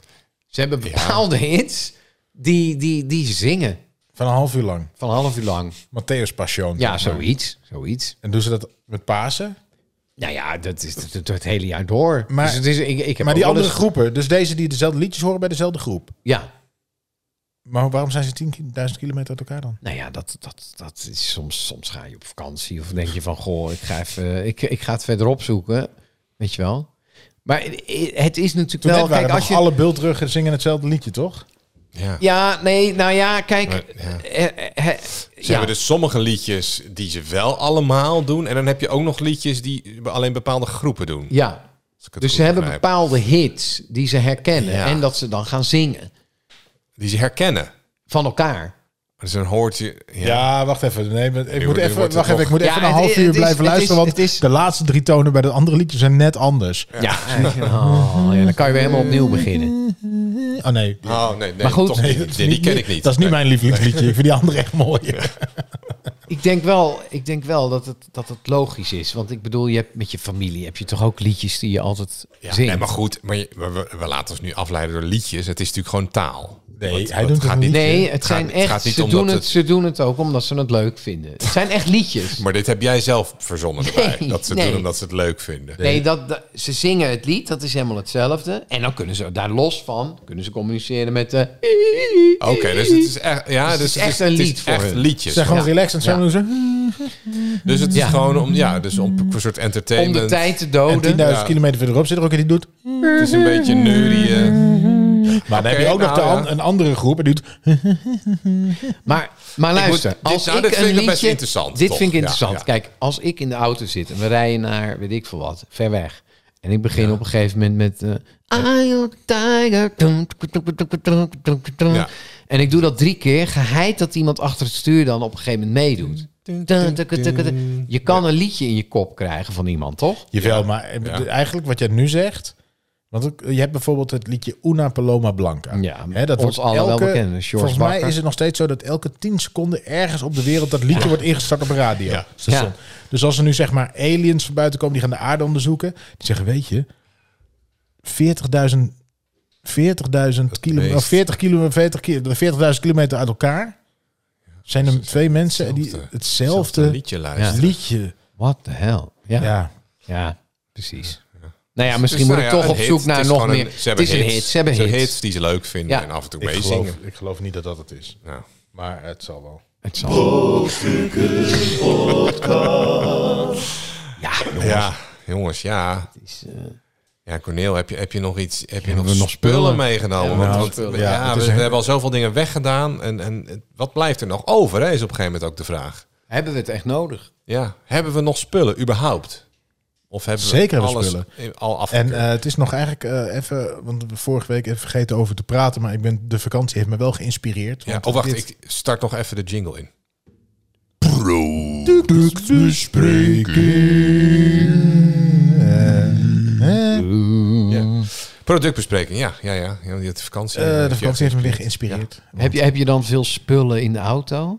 Ze hebben bepaalde hits die, die, die ze zingen
Van een half uur lang.
van een half uur lang.
Matthäus Passion.
Ja, zoiets, zoiets.
En doen ze dat met Pasen?
Nou ja, dat is dat, dat- dat hele jaar door.
Maar-
dus het is, ik, ik heb
Maar die
ook wel
andere
eens-
groepen, dus deze die dezelfde liedjes horen bij dezelfde groep.
Ja.
Maar waarom zijn ze 10.000 kilometer uit elkaar dan?
Nou ja, dat, dat, dat is soms, soms ga je op vakantie of denk je van, goh, ik ga, even, eh, ik, ik ga het verder opzoeken. Weet je wel. Maar i- het is natuurlijk
Toen
wel,
net waren
kijk, als
nog
je...
alle bultruggen zingen hetzelfde liedje, toch?
Ja.
Ja, nee, nou ja, kijk.
Maar, ja.
eh, eh, eh,
Ze
ja.
hebben dus sommige liedjes die ze wel allemaal doen. En dan heb je ook nog liedjes die alleen bepaalde groepen doen.
ja,
Als ik het
dus ze
goed
hebben
begrijp.
bepaalde hits die ze herkennen
Ja.
en dat ze dan gaan zingen
Die ze herkennen.
van elkaar.
Dus dan hoort je... Ja.
Ja, wacht even. Nee, maar ik,
Nu
moet
wordt- nu
even,
wordt het
wacht even
nog-
ik moet
Ja,
even een
het-
half
het
uur
is-
blijven
het is-
luisteren, want
het is-
de laatste drie tonen bij de andere liedjes zijn net anders.
Ja, Oh, ja dan kan je weer helemaal opnieuw beginnen.
Oh nee.
Oh, nee, nee
Maar goed,
toch niet.
dat is
Die, die ken ik niet.
Dat is niet
Nee.
mijn lievelingsliedje. Ik vind die andere echt mooi.
Ik denk wel, ik denk wel dat, het, dat het logisch is. Want ik bedoel, je hebt, met je familie heb je toch ook liedjes die je altijd
Ja,
zingt.
nee, maar goed, maar je- we, we- we laten ons nu afleiden door liedjes. Het is natuurlijk gewoon taal.
Nee,
Want-
hij
want
doet het niet.
Nee, het
gaat-
zijn
het
echt,
gaat niet
ze,
om
doen
dat
het,
het-
ze doen het ook omdat ze het leuk vinden. Het zijn echt liedjes.
Maar dit heb jij zelf verzonnen erbij. Dat ze het
nee.
doen omdat ze het leuk vinden.
Nee, dat, dat- ze zingen het lied, dat is helemaal hetzelfde. En dan kunnen ze daar los van, kunnen ze communiceren met de...
Oké, dus het is echt, ja, dus
het is
het
echt een
het is
lied voor
echt
hun.
liedjes.
Zeg gewoon
Ja.
relaxed en zo. "Hmm,
Dus het is
Ja.
gewoon om, ja, dus om een soort
Om
entertainment.
de tijd te
En
doden.
10.000
Ja.
kilometer verderop zit er ook en die doet.
Het is een beetje eh, neurieën.
Maar dan
Oké,
heb je ook nog
nou
de an-
ja.
een andere groep en die doet.
Maar, maar luister,
moet- dit-
als
nou,
ik
dit
een
vind ik
liedje,
best interessant,
Dit
toch?
vind
Ja,
ik interessant.
ja.
Kijk, als ik in de auto zit en we rijden naar, weet ik veel wat, ver weg. En ik begin op een gegeven moment met... eh I'm a tiger.
Ja.
En ik doe dat drie keer, geheid dat iemand achter het stuur dan op een gegeven moment meedoet. Je kan een liedje in je kop krijgen van iemand, toch?
Jawel, maar eh,
Ja.
eigenlijk wat jij nu zegt. Want ook- je hebt bijvoorbeeld het liedje Una Paloma Blanca.
Ja,
Hè,
ons allen wel bekende, George
Volgens mij
Bakker.
is het nog steeds zo dat elke 10 seconden ergens op de wereld dat liedje wordt ingestart op een radio.
Ja.
station.
Ja.
Dus als er nu zeg maar aliens van buiten komen die gaan de aarde onderzoeken. Die zeggen, weet je, 40.000 40.000 kilo,
meest.
of 40 kilo, 40 kilo, 40.000 kilometer uit elkaar zijn er twee mensen die
hetzelfde-
hetzelfde
liedje
liedje.
luisteren.
What the hell? Ja, ja.
Ja.
precies. Nou ja, misschien
Dus
moet
nou
ik
ja,
toch
een
op
hit.
zoek
Het
naar
is
nog
gewoon
meer.
een- Ze hebben
het is een
hits.
hit, ze hebben hits.
die ze leuk vinden
Ja.
en af en toe
Ik
meezingen.
geloof, ik geloof niet dat dat het is.
Nou,
Maar het zal wel.
Het zal.
Ja, jongens, ja.
eh,
Ja, Corneel, heb je, heb je nog iets? Heb je nog,
we nog
spullen,
spullen?
meegenomen?
Hebben we
Want-
nog
want-
spullen?
Ja,
Ja, het
we,
is
we
een-
hebben al zoveel dingen weggedaan. En, en en wat blijft er nog over, hè, is op een gegeven moment ook de vraag.
Hebben we het echt nodig?
Ja, hebben we nog spullen überhaupt? Of hebben we
Zeker hebben we
alles
spullen.
in- al
En
afgekeurd?
eh, het is nog eigenlijk eh, even, want we vorige week even vergeten over te praten, maar ik ben, de vakantie heeft me wel geïnspireerd.
ja,
want
oh, wacht,
dit-
ik start nog even de jingle in. Productbespreking, ja, ja, ja. ja die had de vakantie.
Eh,
Ja,
de vakantie heeft me weer geïnspireerd.
Heb je, heb je dan veel spullen in de auto?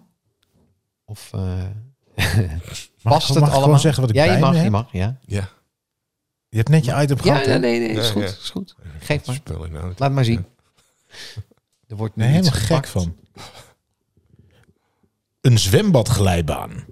Of eh
Mag
past
ik-
het
mag ik
allemaal?
gewoon zeggen wat ik
ja, je
bij me
mag, je
heb?
mag, ja.
Ja,
Je hebt net je item
Ja,
gehad. hè?
nee, nee, nee, is
Ja,
goed,
ja.
is goed. Geef maar.
spullen nou.
Laat maar zien. Er wordt nu
Nee,
iets
helemaal gek
gepakt.
van. Een zwembadglijbaan.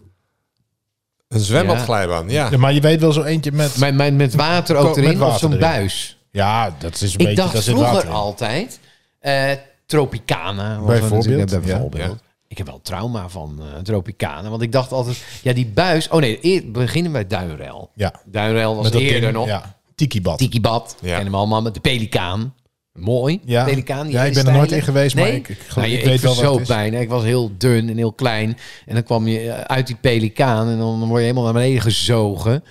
Een zwembadglijbaan, ja.
Ja, maar je weet wel zo eentje met...
Met, met, met water ook
Met
erin of
water
zo'n
erin.
buis.
Ja, dat is een beetje...
Ik dacht
daar zit water
vroeger
in.
altijd, eh, Tropicana. was
Bijvoorbeeld,
er natuurlijk,
ja,
bijvoorbeeld. Ik heb wel trauma van eh, Tropicana, want ik dacht altijd, ja die buis, oh nee, eer- we beginnen bij Duinrel.
Ja,
Duinrel was
met dat
eerder
ding,
nog.
Ja, tikibad.
Tiki Bad.
Ja.
Kennen we allemaal met de pelikaan. Mooi.
Ja.
pelikaan, die
Ja,
hele
ik ben er nooit
steile.
in geweest, maar
Nee?
ik- ik geloof-
Nou, je-
ik weet wel wat het
verzoop
is.
bijna. Ik was heel dun en heel klein. En dan kwam je eh, uit die pelikaan en dan word je helemaal naar beneden gezogen.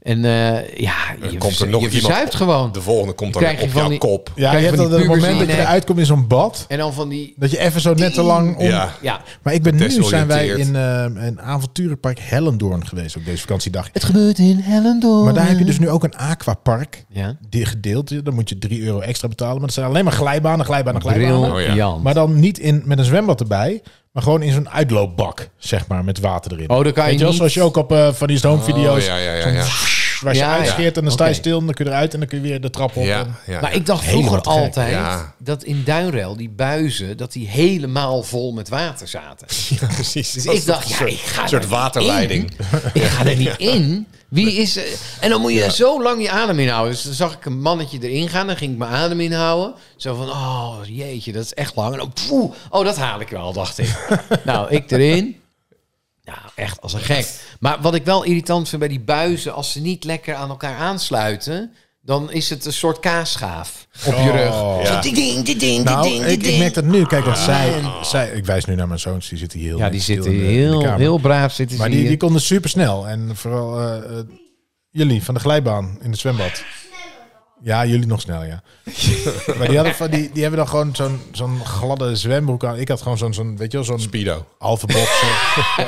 En eh, ja, je,
komt er
verzu-
nog
je
iemand
verzuipt gewoon.
De volgende komt dan
Krijg je
op
van
jouw
die-
kop.
Ja,
Krijg
je
je
hebt
van die
dat het moment dat
pubers
je
in je nek.
eruit komt in zo'n bad...
En dan van die...
Dat je even zo net te lang om...
Ja.
Ja,
Maar ik ben nu zijn wij
Desoriënteerd.
in ehm een avonturenpark Hellendoorn geweest op deze vakantiedag.
het gebeurt in Hellendoorn.
Maar daar heb je dus nu ook een aquapark
Ja.
die gedeeld. Dan moet je 3 euro extra betalen. Maar dat zijn alleen maar glijbanen, glijbanen, glijbanen.
Oh ja.
Briljant.
Maar dan niet in, met een zwembad erbij. Maar gewoon in zo'n uitloopbak, zeg maar, met water
Oh,
erin.
dan kan je
Weet je wel,
niet...
zoals je ook op eh, van die
Oh,
stoomvideo's...
ja, ja, ja, ja.
Waar je
Ja, ja.
uitscheert en dan sta je
Oké.
stil en dan kun je eruit en dan kun je weer de trap op.
ja,
En-
ja.
Maar ik dacht
Helemaal
vroeger
te gek.
altijd
Ja.
dat in Duinrel die buizen dat die helemaal vol met water zaten.
precies.
Dus ik dacht, ja, ik ga
Een soort
daar niet
waterleiding.
in. Ik ga er niet in. Wie is... eh, En dan moet je zo lang je adem inhouden. Dus dan zag ik een mannetje erin gaan. Dan ging ik mijn adem inhouden. Zo van, oh jeetje, dat is echt lang. En dan, poeh, oh, dat haal ik wel, dacht ik. nou, ik erin. Nou, echt als een gek. Maar wat ik wel irritant vind bij die buizen... als ze niet lekker aan elkaar aansluiten... dan is het een soort kaasschaaf op je rug.
Oh.
Zo ding, ding, ding, ding,
Nou,
ding, ding,
ik, ik
ding.
merk dat nu.
Ah.
Kijk, want zij, zij... Ik wijs nu naar mijn zoons. Die zitten hier heel
Ja, die
netjes stil
zitten
in de- in de
heel,
kamer.
heel braaf zitten ze
Maar die,
hier.
die konden supersnel. En vooral eh, eh, jullie van de glijbaan in het zwembad. Ja, jullie nog snel, ja. maar die, hadden, van- die, die hebben dan gewoon zo'n zo'n gladde zwembroek aan. Ik had gewoon zo'n, zo'n weet je wel, zo'n
Speedo.
halve box.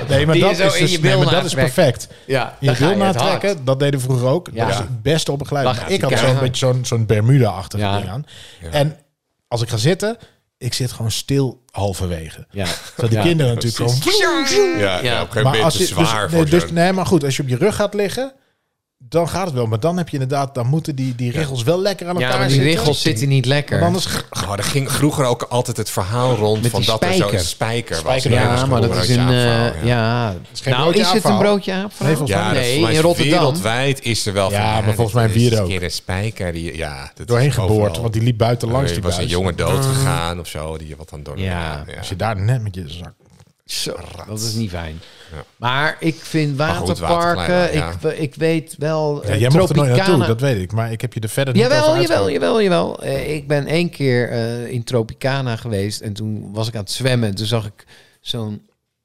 nee, maar
Die je
dat
zo
is,
in
dus-
je
nee,
bil
maar dat is
natrekt.
perfect.
ja,
Je
dan ga
wil
het hard.
natrekken, dat deden we vroeger ook.
Ja.
Dat is het beste op een glijbaan.
Dan gaat
Ik
die
had zo'n
keihard.
beetje zo'n zo'n Bermuda-achtig
Ja.
ding aan. En als ik ga zitten, ik zit gewoon stil halverwege.
Ja.
Zodat de
Ja.
kinderen natuurlijk gewoon
Ja, ja. op een gegeven moment te
dus-
zwaar
nee,
voor
dus,
zo'n-
nee, maar goed, als je op je rug gaat liggen, dan gaat het wel. Maar dan heb je inderdaad, dan moeten die, die regels wel lekker aan elkaar
Ja, maar die
zitten.
regels zitten niet lekker.
Want anders
Maar Oh, er ging vroeger ook altijd het verhaal rond
Met
van
die
dat er zo'n
spijker.
spijker,
Spijker,
was.
Ja,
ja, maar dat is een...
broodje
eh,
aanverhaal,
ja.
geen
Nou,
broodje
is het een
aanverhaal.
broodje aanverhaal?
Nee, volgens
Ja,
mij
dat
nee,
volgens mij
in
is
Rotterdam.
Wereldwijd is er wel
Ja,
van,
maar
dat
volgens mij
is
bier
een
ook.
keer een spijker die ja, dat
doorheen
is
geboord,
overal.
want die liep buiten langs
Er
die
was een
buis.
jongen dood gegaan of zo, die wat dan door. de-
Ah. Ja.
Als je daar net met je zak...
Zo, dat is niet fijn.
Ja.
Maar ik vind
goed,
waterparken...
waterglijbaan,
ik, ik weet wel...
Ja,
eh,
jij mocht er nooit naartoe,
Tropicana-
dat weet ik. Maar ik heb je er verder niet
Jawel,
over
jawel,
uitgehoord.
jawel, jawel. Eh, ik ben één keer eh, in Tropicana geweest en toen was ik aan het zwemmen. En toen zag ik zo'n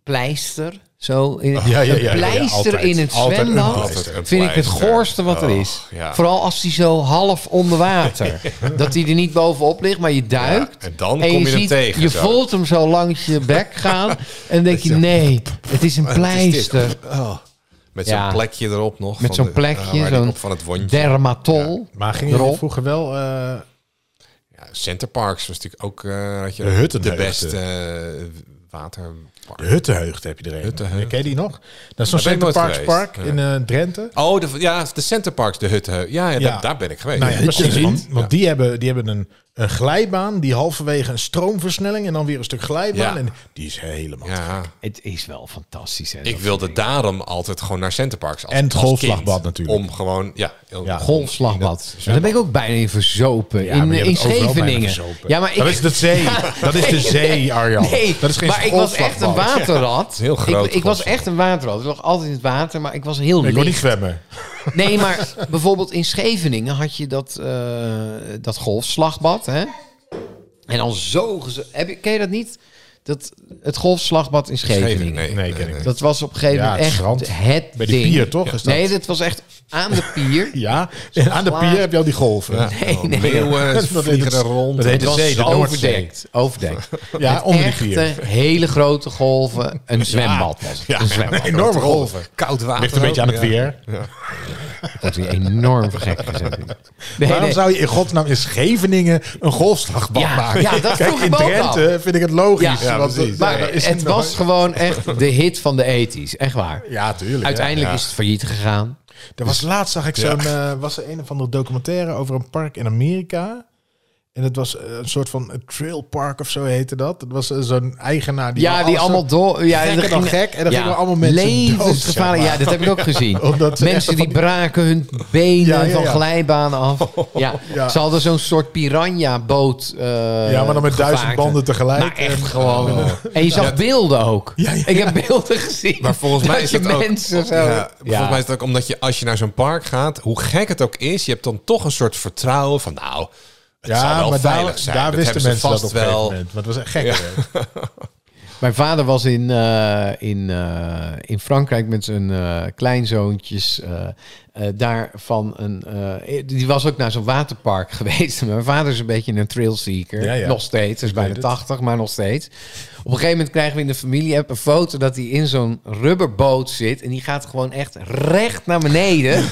pleister. Zo in,
Oh,
Ja, ja,
een
ja, ja,
pleister
altijd.
in het
Altijd een
zwembad
pleister.
Altijd een
vind ik het
pleister.
goorste wat er
Oh,
is.
ja.
Vooral als die zo half onder water. dat die er niet bovenop ligt, maar je duikt.
en dan
en
kom je,
je,
hem
ziet,
tegen.
je
zo.
voelt hem zo langs je bek gaan. en dan denk je, nee, het is een
Wat is dit?
pleister.
Oh. Met zo'n
Ja.
plekje erop nog.
Met
van
zo'n
de-
plekje,
ah, waar die
zo'n
op van het wondje.
Dermatol.
Maar gingen jullie
Erop.
vroeger wel... eh,
Ja, Center Parks was natuurlijk ook eh, had je
De hutten
de
heugden.
beste eh, waterpark.
de Huttenheugd heb je er een.
Huttenheugd.
Ken je die nog? Dat is zo'n
Daar ben ik
Center
nooit
Parks
geweest.
Park in eh, Drenthe.
Oh, de, ja, de Center Parks, de hutten. Ja, ja,
Ja.
Daar, daar ben ik geweest.
Nou ja,
Dat
precies,
komt
want,
niet.
want die hebben, die hebben een, een glijbaan die halverwege een stroomversnelling en dan weer een stuk glijbaan.
Ja.
En die is helemaal.
ja.
Het is wel fantastisch. Hè,
Ik wilde daarom altijd gewoon naar Centerparks. Als,
En het
als
golfslagbad
kind.
natuurlijk.
Om gewoon, ja. heel-
Ja.
Golfslagbad. Maar Daar ben ik ook bijna in verzopen.
maar
in
je
in
bent overal bijna
Scheveningen.
verzopen.
Ja, maar ik,
Dat is de zee. Dat is de zee, Arjan.
Nee,
dat is geen
maar ik was echt een
golfslagbad.
waterrat.
heel groot
Ik, ik was
golfslag.
echt een waterrat. Ik lag altijd in het water, maar ik was heel
Ik
licht.
kon niet zwemmen.
Nee, maar bijvoorbeeld in Scheveningen had je dat, eh, dat golfslagbad. Hè? En al zo... geze- Heb je, ken je dat niet? Dat, het golfslagbad in Scheveningen.
Scheveningen, nee.
Nee, ken ik niet.
Dat was op een gegeven
Ja,
moment
het
echt
strand.
het
Bij die
ding.
pier toch? Is dat?
Nee, dat was echt aan de pier.
Ja, en aan de
Slaag.
pier heb je al die golven.
Ja.
Nee, nee.
Meeuwen
Dat heet
vliegen
het-
er rond.
dat heet de zee, de Noordzee.
overdekt. Overdekt.
Ja, onder die
Echte,
pier.
eh, hele grote golven. Een zwembad was het.
Ja,
Een zwembad.
enorme golven.
Koud water.
Ligt een beetje aan het
ook, ja.
weer.
Wordt hier enorm gek gezet. Nee,
Waarom
nee.
zou je in godsnaam in Scheveningen een golfslagbad
Ja,
maken?
ja, dat
Kijk,
vroeg
in
ik me ook
Drenthe vind ik het logisch.
Ja,
want dat-
Maar
daar is
het
nog-
was gewoon echt de hit van de ethisch. Echt waar.
Ja, tuurlijk. ja.
Uiteindelijk
Ja.
is het failliet gegaan.
Er was laatst zag ik zo'n eh, was er een of andere documentaire over een park in Amerika. En het was eh, een soort van een trail park of zo heette dat. Het was eh, zo'n eigenaar die
ja,
wel
die
alles
allemaal door. Ja,
gekker
er
dan
gingen-
gek en dan gingen allemaal mensen dood,
levensgevaarlijk.
zeg
Ja, dat heb ik ook gezien.
Omdat ze echt
mensen die braken hun benen
Ja, ja,
van
ja.
glijbanen af. Ja.
Ja.
Ze hadden zo'n soort piranha-boot. eh,
Ja, maar dan met duizend
gevaarte.
banden tegelijk.
Maar
Nou,
echt gewoon. En je zag beelden ook.
Ja, ja,
Ik heb beelden gezien.
Maar volgens mij is
dat
het
je
ook...
mensen zo.
Ja, Volgens mij is het ook omdat je als je naar zo'n park gaat, hoe gek het ook is, je hebt dan toch een soort vertrouwen van nou, het zal
ja,
wel
maar
veilig
daar,
zijn.
daar
Dat
wisten
hebben ze
mensen dat
vast
op een gegeven
wel.
moment. Want het was echt gek. hè?
Mijn vader was in, eh, in, eh, in Frankrijk met zijn eh, kleinzoontjes. eh eh, daar van een, eh, die was ook naar zo'n waterpark geweest. Mijn vader is een beetje een trailseeker.
Ja, ja.
Nog steeds. Hij is bijna
weet
80, maar nog steeds. Op een gegeven moment krijgen we in de familie-app een foto dat hij in zo'n rubberboot zit. En die gaat gewoon echt recht naar beneden.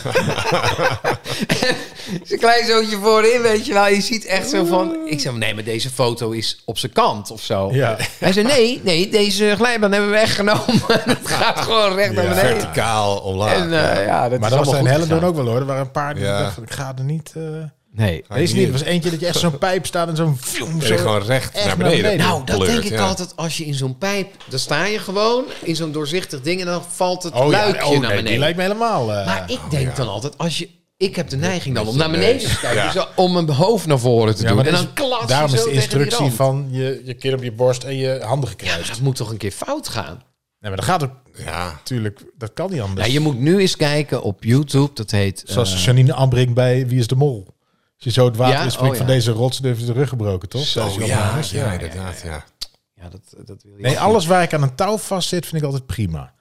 Zijn kleinzoontje voorin, weet je wel. Je ziet echt zo van... Ik zeg, nee, maar deze foto is op zijn kant of zo.
Ja.
Hij zei, nee, nee, deze glijbaan hebben we weggenomen. Het gaat gewoon recht naar
Ja.
beneden.
Verticaal omlaag.
En eh, ja, dat
maar
is
dat
allemaal
was in
goed
Hellendoorn
gegaan.
ook wel hoor. Er waren een paar die
Ja.
dachten, ik ga er niet... eh,
Nee.
Er is niet,
hier.
er was eentje dat je echt zo'n pijp staat en zo'n... vioem,
En
zo-
je gewoon recht
echt
naar beneden.
naar beneden.
Nou, dat
pleurt,
denk ik
ja.
altijd als je in zo'n pijp... Dan sta je gewoon in zo'n doorzichtig ding en dan valt het
Oh ja,
luikje
oh,
naar
nee,
beneden.
die lijkt me helemaal... eh,
maar ik
Oh,
denk dan altijd, als je... Ik heb de neiging dan om naar
nee.
beneden te kijken.
Ja.
zo om mijn hoofd naar voren te
ja,
doen.
maar
En
dat
dan klats
Daarom
je
is
zo
de
tegen die
instructie
rand.
van je, je keer op je borst en je handen gekruist.
Het moet toch een keer fout gaan?
Nee, maar dat gaat ook
Ja.
natuurlijk... Dat kan niet anders.
Ja, je moet nu eens kijken op YouTube. Dat heet... eh,
Zoals Janine Ambring bij Wie is de Mol. Als je zo het water
Ja?
in springt
Oh,
van
ja.
deze rots, dan heeft ze de rug gebroken, toch?
Zo,
Dat is
Oh, ja,
wel
ja,
waar.
inderdaad, ja.
ja, dat, dat wil je
Nee, alles waar ik aan een touw vast zit, vind ik altijd prima.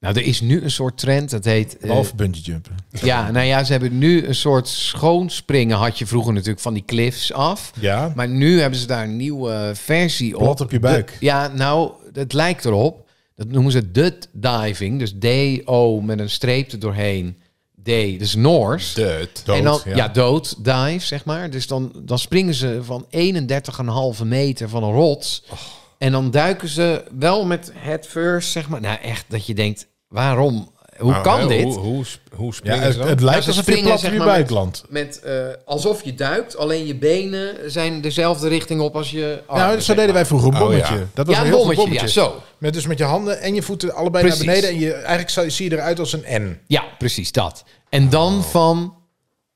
Nou, er is nu een soort trend. Dat heet... eh,
Behalve bungee jumpen.
Ja, nou ja, ze hebben nu een soort schoonspringen. Had je vroeger natuurlijk van die cliffs af.
Ja,
Maar nu hebben ze daar een nieuwe versie op.
plat op je buik.
Ja, nou, het lijkt erop. Dat noemen ze dut diving. Dus D-O met een streep er doorheen. D, dus Noors.
Deut.
Dood,
en dan, ja.
ja.
dood dive, zeg maar. Dus dan, dan springen ze van 31,5 meter van een rots.
Oh.
En dan duiken ze wel met head first, zeg maar. Nou, echt dat je denkt, waarom? Hoe
Maar,
kan
Nou, hè,
dit?
Hoe, hoe, sp- hoe
Ja,
springen
het,
ze dan?
het
Nou,
lijkt
ze
alsof je
springen,
plat
zeg
op je
maar,
buik landt.
Met, eh, alsof je duikt, alleen je benen zijn dezelfde richting op als je armen.
Nou, zo
zeg
deden
maar.
wij vroeger een
Oh,
bommetje.
ja.
Dat was
Ja,
een
een
heel goed
bommetje,
bommetje.
ja, zo.
Met dus met je handen en je voeten allebei
Precies.
naar beneden. En je, eigenlijk zou- zie je eruit als een N.
Ja, precies dat. En dan van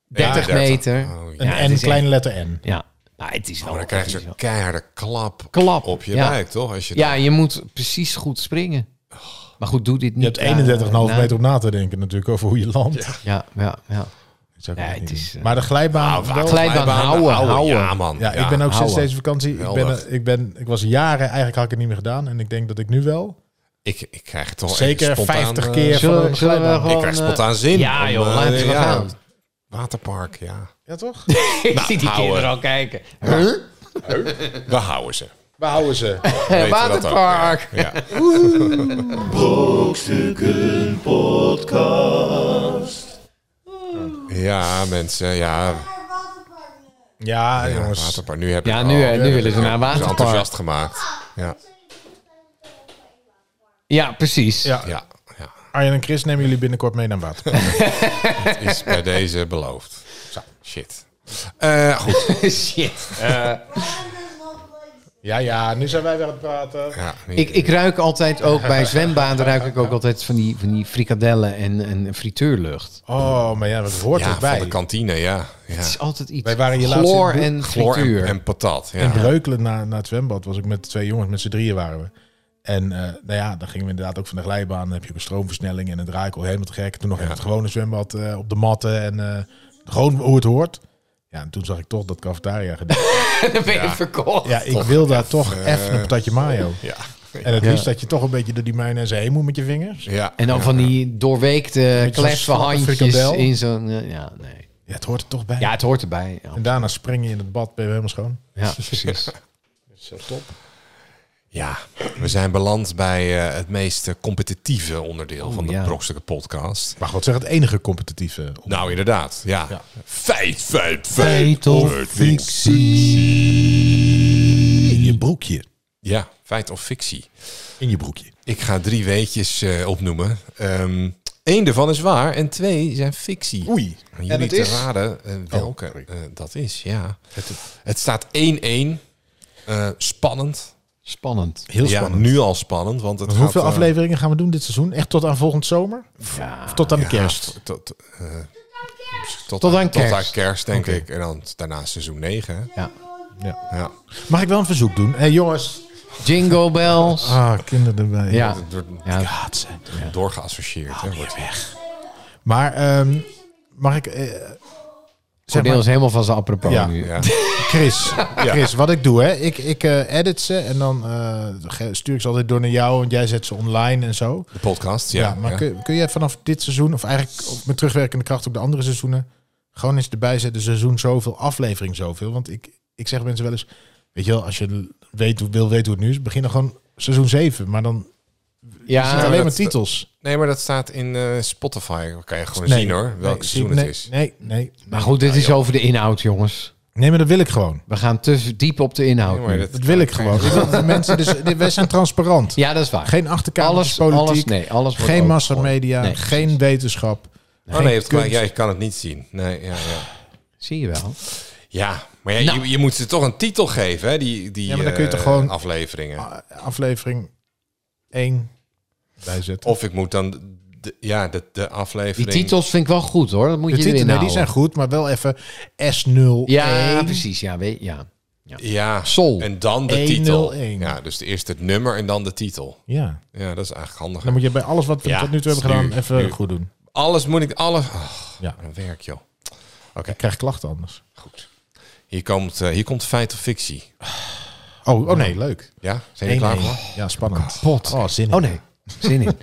30
Oh. Ja,
meter.
Oh, ja.
Een
Ja, het
N,
is
kleine letter N.
echt- Ja, maar het is wel...
Maar dan krijg je
het is
zo'n
wel-
keiharde klap,
Klap,
op je
ja.
buik, toch? Als je
Ja, je moet precies goed springen.
Oh.
Maar goed, doe dit niet.
Je hebt 31,5
Ja, nou.
meter op na te denken natuurlijk over hoe je landt. Dat
Ja, ja, ja.
zou ik
Ja,
ook niet
het is,
doen.
eh,
maar de glijbaan...
Nou,
wel-
glijbaan houden, houden.
Ja, man.
Ja, ik ben ook sinds
houden.
deze vakantie. Ik, ben,
Geweldig.
ik, ben, ik was jaren, eigenlijk had ik het niet meer gedaan. En ik denk dat ik nu wel.
Ik, ik krijg het toch
Zeker
echt spontaan,
50
eh,
keer.
Zullen,
van een
we- zullen we
glijbaan.
gewoon...
ik krijg
eh,
spontaan zin.
Ja,
om,
joh,
eh,
laten we
ja,
gaan.
Waterpark, ja.
Ja, toch?
Ik zie die
houden.
kinderen al kijken. Huh?
We houden ze.
We houden ze.
Weten we dat ook,
waterpark.
Ja. Ja.
Brokstukken Podcast.
Ja, mensen, ja.
Ja,
ja
jongens.
waterpark. Nu heb
Ja,
ik
nu,
al-
eh, nu willen ze naar waterpark.
enthousiast gemaakt. Ja,
Ja, precies.
Ja.
ja, ja.
Arjen en Chris nemen jullie binnenkort mee naar water.
Het is bij deze beloofd. Zo, shit. Eh, goed.
Shit.
ja, ja, nu zijn wij weer aan het praten.
Ja, nu-
Ik, ik ruik altijd ook bij zwembaden ruik ik ook altijd van die, van die frikadellen en, en frituurlucht.
Oh, maar ja, dat hoort
ja,
erbij.
van de kantine, ja. ja.
Het is altijd iets.
Wij waren hier laatst
chloor
in Broek-
en
Chloor
frituur.
en, en patat. Ja.
In Breukelen naar, naar het zwembad was ik met twee jongens, met z'n drieën waren we. En eh, nou ja, dan gingen we inderdaad ook van de glijbaan. Dan heb je ook een stroomversnelling en een draaikel helemaal te gek. Toen nog in het gewone zwembad eh, op de matten en eh, gewoon hoe het hoort. Ja, en toen zag ik toch dat cafetaria gedaan.
Dan ben je verkocht.
Ja, ik wil daar toch even een patatje mayo.
eh, Ja.
En het
Ja.
liefst dat je toch een beetje door die mayonaise heen moet met je vingers.
ja.
En dan van die doorweekte
zo'n
kleffe
slappe
handjes
frikandel.
in zo'n... eh, Ja, nee.
Ja, het hoort er toch bij.
ja, het hoort erbij. Ja,
En daarna spring je in het bad, ben je helemaal schoon.
ja precies.
Ja, we zijn beland bij eh, het meest eh, competitieve onderdeel van de
ja.
Brokstukken podcast.
Mag wat zeggen, het enige competitieve. eh, op-
Nou, inderdaad, ja.
Ja.
Feit, feit, feit.
Feit of
of fictie.
In je broekje.
Ja, feit of fictie.
In je broekje.
Ik ga drie weetjes eh, opnoemen. Ehm Eén daarvan is waar en twee zijn fictie.
Oei.
Aan Jullie en
het
te
is?
raden eh, welke
sorry.
eh, dat is, ja. Het, staat 1-1. Eh, spannend.
Spannend.
Heel
ja,
spannend.
nu al spannend. Want het
Want hoeveel
gaat, eh,
afleveringen gaan we doen dit seizoen? Echt tot aan volgend zomer?
Ja.
Of tot aan de
Ja,
kerst?
Tot, tot, eh, tot,
Tot aan
Tot
kerst.
aan kerst, denk ik. En dan daarna seizoen 9.
Ja.
Ja.
Mag ik wel een verzoek doen? Hé hey, jongens.
Jingle bells.
Ah, kinderen erbij.
Ja.
Het wordt
ja.
Gaat ze.
doorgeassocieerd.
Oh,
hè, wordt.
Maar ehm, mag ik... eh, zeg
Cordeel
maar,
is helemaal van zijn apropos
Ja.
nu.
Ja.
Chris, Chris, wat ik doe, hè? Ik, ik eh, edit ze en dan eh, ge- stuur ik ze altijd door naar jou, want jij zet ze online en zo.
De podcast, ja.
Ja, maar
ja.
Kun, kun jij vanaf dit seizoen, of eigenlijk op- met terugwerkende kracht op de andere seizoenen, gewoon eens erbij zetten, seizoen zoveel, aflevering zoveel? Want ik, ik zeg mensen wel eens, weet je wel, als je l- weet, hoe- wil weten hoe het nu is, begin dan gewoon seizoen 7, maar dan
Ja,
zijn het
dat-
alleen maar titels.
Nee, maar dat staat in eh, Spotify. Dat kan je gewoon zien hoor, welk
nee,
seizoen
nee,
het is.
Nee, nee.
maar goed, dit is over de inhoud, jongens.
Nee, maar dat wil ik gewoon.
We gaan te diep op de inhoud.
Nee, maar
nu.
dat-
Dat wil ik gewoon. Ik wil dat de mensen, dus, wij zijn transparant.
Ja, dat is waar.
Geen achterkamertjes
alles,
politiek.
alles, nee, alles wordt
Geen
ook
massamedia,
gewoon- nee.
geen wetenschap.
Oh nee, je hebt
kunst.
gelijk. ja, je kan het niet zien. Nee, ja, ja.
Zie je wel.
Ja, maar ja,
Nou.
je, je moet ze toch een titel geven, hè? Die, die
Ja, maar dan
eh,
kun je toch gewoon- Ah.
afleveringen.
A- Aflevering 1 bijzetten.
Of ik moet dan de, ja, de, de
Die
aflevering.
titels vind ik wel goed hoor. Dat moet
de
je erin
titel, nee, die zijn
houden.
goed, maar wel even S0.
Ja, precies. Ja, weet, ja.
Ja,
Sol.
En dan de
101.
titel. Ja, dus eerst het nummer en dan de titel.
Ja,
Ja, dat is eigenlijk handiger.
dan moet je bij alles wat we
Ja,
tot nu toe hebben
nu,
gedaan even
nu.
goed doen.
Alles moet ik, alles. ach,
Ja.
een werk joh.
Ik krijg klachten anders.
Goed. Hier komt, eh, hier komt feit of fictie.
Oh, oh nee, leuk.
Ja, zijn jullie klaar
Eén,
voor?
één. Ja, spannend. Pot. Oh, zin in.
Oh nee, zin in.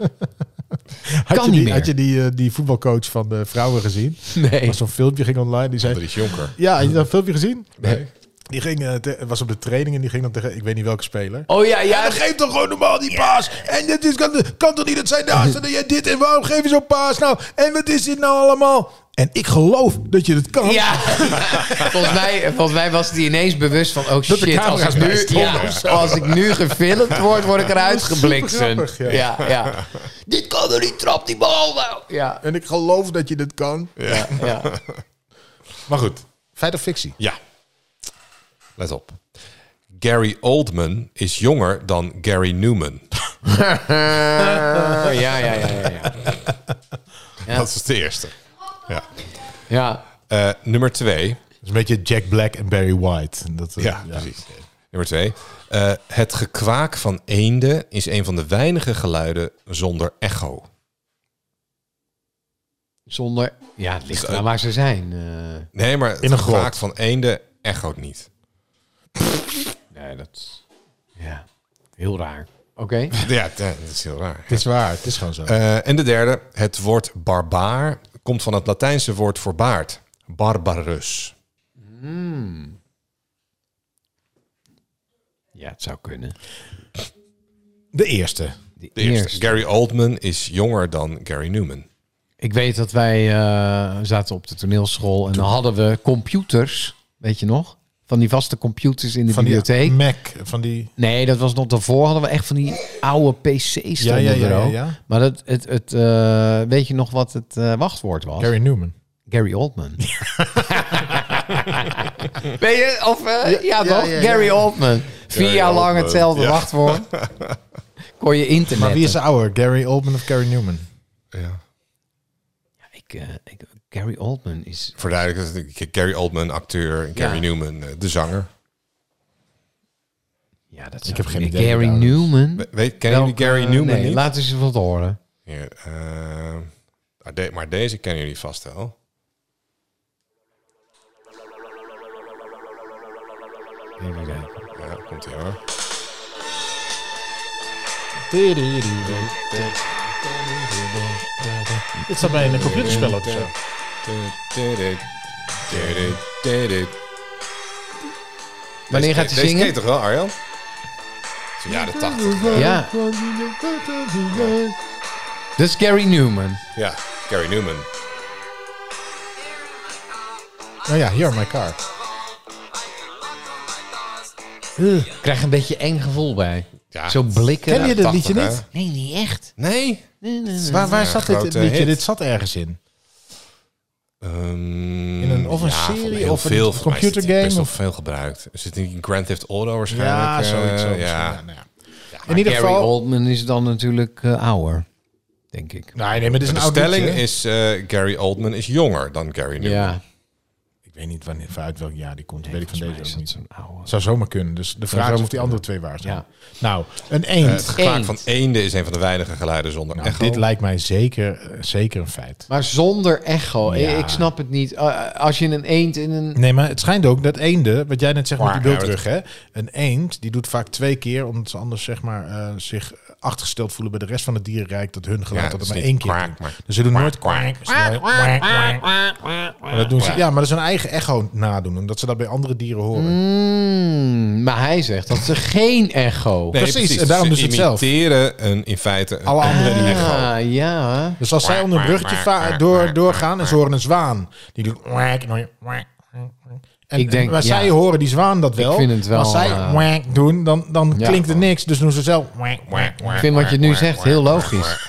kan
had je
niet
die,
meer.
Had je die, eh, die voetbalcoach van de vrouwen gezien? Er
Nee.
was zo'n filmpje ging online. Die zei,
Andries Jonker.
ja, had je dat filmpje gezien?
Nee.
Die ging, eh, te- was op de training en die ging dan tegen, ik weet niet welke speler.
Oh ja, ja.
geef toch gewoon normaal die paas. En dit is, kan, kan toch niet dat zij naast dat jij dit en waarom geef je zo'n paas nou? En wat is dit nou allemaal? En ik geloof dat je het kan.
Ja, volgens, mij, volgens mij was hij ineens bewust van, oh
de
shit, als
camera's
ik,
bij
nu,
stonden
ja, als ik nu gefilmd word, word ik eruit gebliksemd. Ja.
supergrappig,
Ja, Dit kan er niet, trap die bal nou. Ja,
En ik geloof dat je dit kan.
ja, ja.
Maar goed, feit of fictie?
Ja. Let op. Gary Oldman is jonger dan Gary Newman.
ja, ja, ja, ja, ja.
Dat is de eerste. Ja.
ja.
Eh, nummer twee.
Dat is een beetje Jack Black en Barry White. En Dat, eh,
Ja, precies. Nummer twee. Eh, het gekwaak van eenden is een van de weinige geluiden zonder echo.
Zonder, ja, het ligt aan waar ze zijn. eh.
Nee, maar het
In een
gekwaak
grot.
van eenden echoot niet.
nee, dat is- ja, heel raar. Oké.
Ja, dat is heel raar.
Het is waar, het is gewoon zo.
Eh, en de derde. Het woord barbaar komt van het Latijnse woord voor baard. Barbarus.
Ja, het zou kunnen.
de eerste.
De
De eerste.
eerste.
Gary Oldman is jonger dan Gary Newman.
Ik weet dat wij eh, zaten op de toneelschool en dan hadden we computers, weet je nog? Van die vaste computers in de
Van
bibliotheek.
die Mac, van die...
Nee, dat was nog daarvoor. Hadden we echt van die oude PC's
Ja,
stonden
ja, ja,
er
ja,
ook.
ja.
Maar dat, het, het, eh, weet je nog wat het eh, wachtwoord was? Gary,
Gary Newman.
Oldman. weet je? Of, eh, ja,
ja,
toch?
ja, ja.
Gary Oldman. Vier
Gary
jaar lang
Oldman,
hetzelfde
ja.
wachtwoord. Kon je internet.
Maar wie is er ouder, Gary Oldman of Gary Newman?
Ja.
ik, eh, ik, Gary Oldman is...
Verduidelijk, dat- Gary Oldman, acteur. en Gary
Ja.
Newman, eh, de zanger.
Ja, dat zou-
heb geen idee wie
Gary
daar is.
Newman.
We- Weet, kennen jullie
Welke-
Gary Newman
nee,
niet?
Laten ze wat horen.
Ja, eh, maar de- maar deze kennen jullie vast wel. Ja, komt ie hoor.
Dit staat bij een computerspel of zo.
Wanneer gaat hij
Deze ken je
zingen?
toch wel, Arjan? Zo'n Jaren 80. eh,
Ja. Dat is Dus Gary Newman.
Ja, Gary Newman.
Nou ja, Here My Car.
Ik krijg een beetje eng gevoel bij.
Ja.
Zo blikken.
Ken je dit
80,
liedje
hè?
niet?
Nee, niet echt.
Nee.
Waar, waar zat dit
grote
liedje?
hit.
Dit zat ergens in.
Ehm,
In een- of een
ja, van
serie,
heel
of een
veel, volgens mij is dit
computergame,
Best wel
of-
veel gebruikt. Er zit in Grand Theft Auto
Ja,
waarschijnlijk. eh,
zoiets. zoiets.
ja.
Ja, nou ja. In ieder
Gary
geval...
Oldman is dan natuurlijk eh, ouder, denk ik.
Nee, nee, maar dit is een
De
oud
stelling
liedje.
is eh, Gary Oldman is jonger dan Gary Newman.
Ja,
Ik weet niet wanneer, uit welk jaar die komt. weet ik van
volgens mij is
deze ook
dat
niet.
zo'n oude.
Zou zomaar kunnen. Dus de vraag
zou
is of
ook
die andere twee waar zijn.
Ja.
Nou, een
Eh, het
eend.
gevaar
Eend.
van eenden is een van de weinige geluiden zonder
Nou,
echo.
dit lijkt mij zeker, eh, zeker een feit.
Maar zonder echo.
Ja.
Ik- Ik snap het niet. Eh, als je een eend in een...
Nee, maar het schijnt ook dat eenden, wat jij net zegt met die
Maar, ja,
bultrug, hè? Een eend, die doet vaak twee keer, omdat ze anders zeg maar eh, zich achtergesteld voelen bij de rest van het dierenrijk, dat hun geluid
Ja,
dat
het
het
is
maar
niet
één keer
kwaak,
doen.
maar
Dus ze doen nooit kwaak. ze doen nooit kwaak, kwaak. Maar dat doen ze, ja, maar dat is hun eigen echo nadoen, omdat ze dat bij andere dieren horen.
Mm, maar hij zegt dat ze geen echo.
Nee,
precies, en daarom
Ze
doen ze het zelf.
imiteren een, in feite een
Alle anderen die
Ah, ja.
Dus als zij onder een bruggetje va- door, doorgaan en ze horen een zwaan, die doet. whack, en dan- whack, En,
Ik denk,
en- maar
ja.
zij horen die zwaan dat wel.
Ik vind het wel,
Maar als zij
eh,
whack doen, dan, dan
ja.
klinkt er niks. Dus doen ze zelf. whack, whack.
Ik vind wat je nu zegt heel logisch.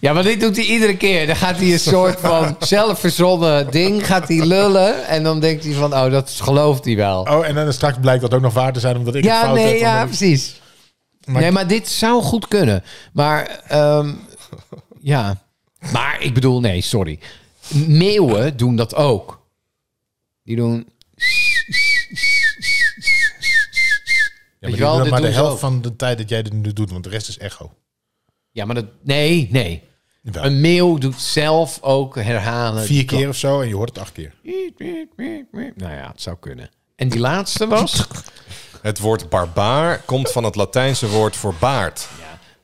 Ja, maar dit doet hij iedere keer. Dan gaat hij een soort van zelfverzonnen ding, gaat hij lullen. En dan denkt hij van, oh, dat gelooft hij wel.
Oh, en dan straks blijkt dat ook nog waar te zijn omdat ik het
Ja,
fout
nee,
heb.
ja,
omdat ik-
precies.
Maar-
nee, maar dit zou goed kunnen. Maar, ehm, ja. Maar ik bedoel, nee, sorry. Meeuwen doen dat ook. Die doen...
Ja,
Weet
maar
je wel,
die doen
dit
maar de
doen ze
helft
ook.
van de tijd dat jij dit nu doet, want de rest is echo.
Ja, maar dat... Nee, nee.
Jawel.
Een meeuw doet zelf ook herhalen.
Vier keer of zo en je hoort het acht keer.
Nou ja, het zou kunnen. En die laatste was?
Het woord barbaar komt van het Latijnse woord voor baard.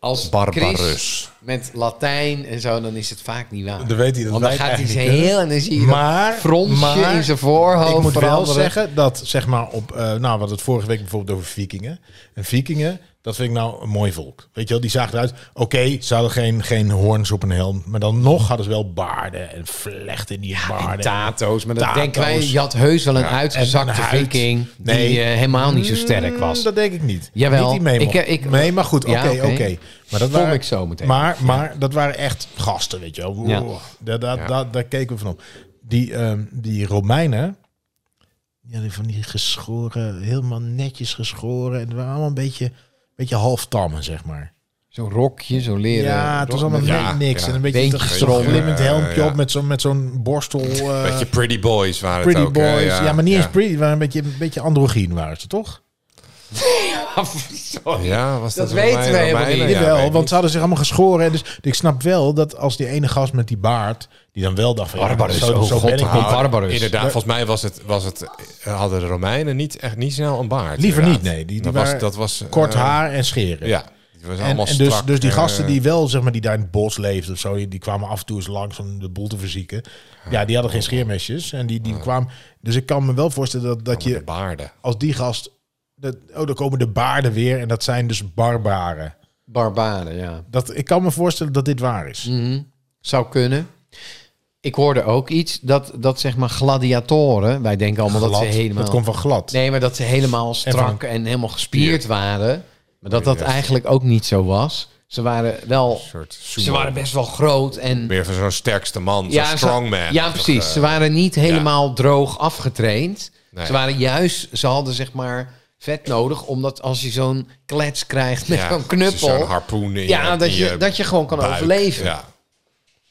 Als
Barbarus.
Chris met Latijn en zo, dan is het vaak niet waar.
Dan weet hij dat
Want dan
wij
gaat hij
het eigenlijk
zijn
niet kunnen.
heel en dan zie je
Maar-
dat fronsje
maar
in zijn voorhoofd
ik moet wel
veranderen.
zeggen dat, zeg maar, op, eh, nou, we hadden het vorige week bijvoorbeeld over vikingen. En vikingen, dat vind ik nou een mooi volk. Weet je wel, die zagen eruit. Oké, ze hadden geen, geen hoorns op een helm, maar dan nog hadden ze wel baarden en vlechten in die baarden.
Tato's, maar dan
Tato's.
denken wij, je had heus wel een
Ah, en
uitgezakte
een huid.
viking
Nee.
die eh, helemaal niet zo sterk was.
Mm, dat denk ik niet.
Jawel.
Niet die mee
Ik- ik-
nee, maar goed, oké,
Ja,
oké.
oké.
Maar dat
Kom
waren,
ik zo meteen.
Maar, maar dat waren echt gasten, weet je wel. Oeh,
Ja.
daar, daar, daar, daar keken we van op. Die, ehm, die Romeinen, ja, die van die geschoren, helemaal netjes geschoren. En het waren allemaal een beetje, beetje halftammen, zeg maar.
Zo'n rokje, zo'n leren
ja, het
rok
was allemaal
met-
Ja,
net niks.
ja.
En een beetje
Beentjes
dat
eronder.
glimmend
Ja,
helmpje
ja.
op met zo'n met zo'n borstel. eh,
Beetje pretty boys waren
pretty
het ook.
boys.
hè?
ja, maar niet eens pretty, maar een beetje, een beetje androgyn waren ze, toch?
Ja, was dat
Dat weten
Romeinen?
we helemaal
Romeinen?
niet.
Ja,
Jawel,
weet ik
want ze hadden zich allemaal geschoren. Dus ik snap wel dat als die ene gast met die baard, die dan wel dacht van... ja,
Barbarus,
zo,
oh
zo
god,
ben ik
ah.
niet.
Nou,
Barbarus.
Inderdaad, volgens mij was het, was het, eh, hadden de Romeinen niet, echt niet snel een baard.
Liever
inderdaad.
niet, nee. Die- die
dat,
waren
was, dat was... eh,
Kort haar en scheren.
Ja, die was
En,
allemaal
en dus,
strak,
dus die
eh,
gasten die wel, zeg maar, die daar in het bos leefden of zo, die die kwamen af en toe eens langs om de boel te verzieken. Ja, die hadden geen scheermesjes. En die, die kwamen... Dus ik kan me wel voorstellen dat, dat
met de
je
baarden.
als die gast... Dat, oh, dan komen de baarden weer en dat zijn dus barbaren.
barbaren, ja.
Dat, ik kan me voorstellen dat dit waar is.
Mm. Zou kunnen. Ik hoorde ook iets dat, dat zeg maar gladiatoren, wij denken allemaal
Glad.
dat ze helemaal...
dat komt van glad.
Nee, maar dat ze helemaal strak en, helemaal gespierd waren. Maar dat dat
Ja.
eigenlijk ook niet zo was. Ze waren wel...
Een soort sumo.
Ze waren best wel groot en...
Meer van zo'n sterkste man, zo'n
ze-
strongman.
Ja,
Toch,
precies.
eh,
Ze waren niet helemaal droog afgetraind.
Nee.
Ze waren juist... Ze hadden zeg maar vet nodig, omdat als je zo'n klets krijgt met
ja,
zo'n knuppel...
Zo'n harpoen in
ja, dat
in
je, dat je gewoon kan
buik.
overleven.
Ja.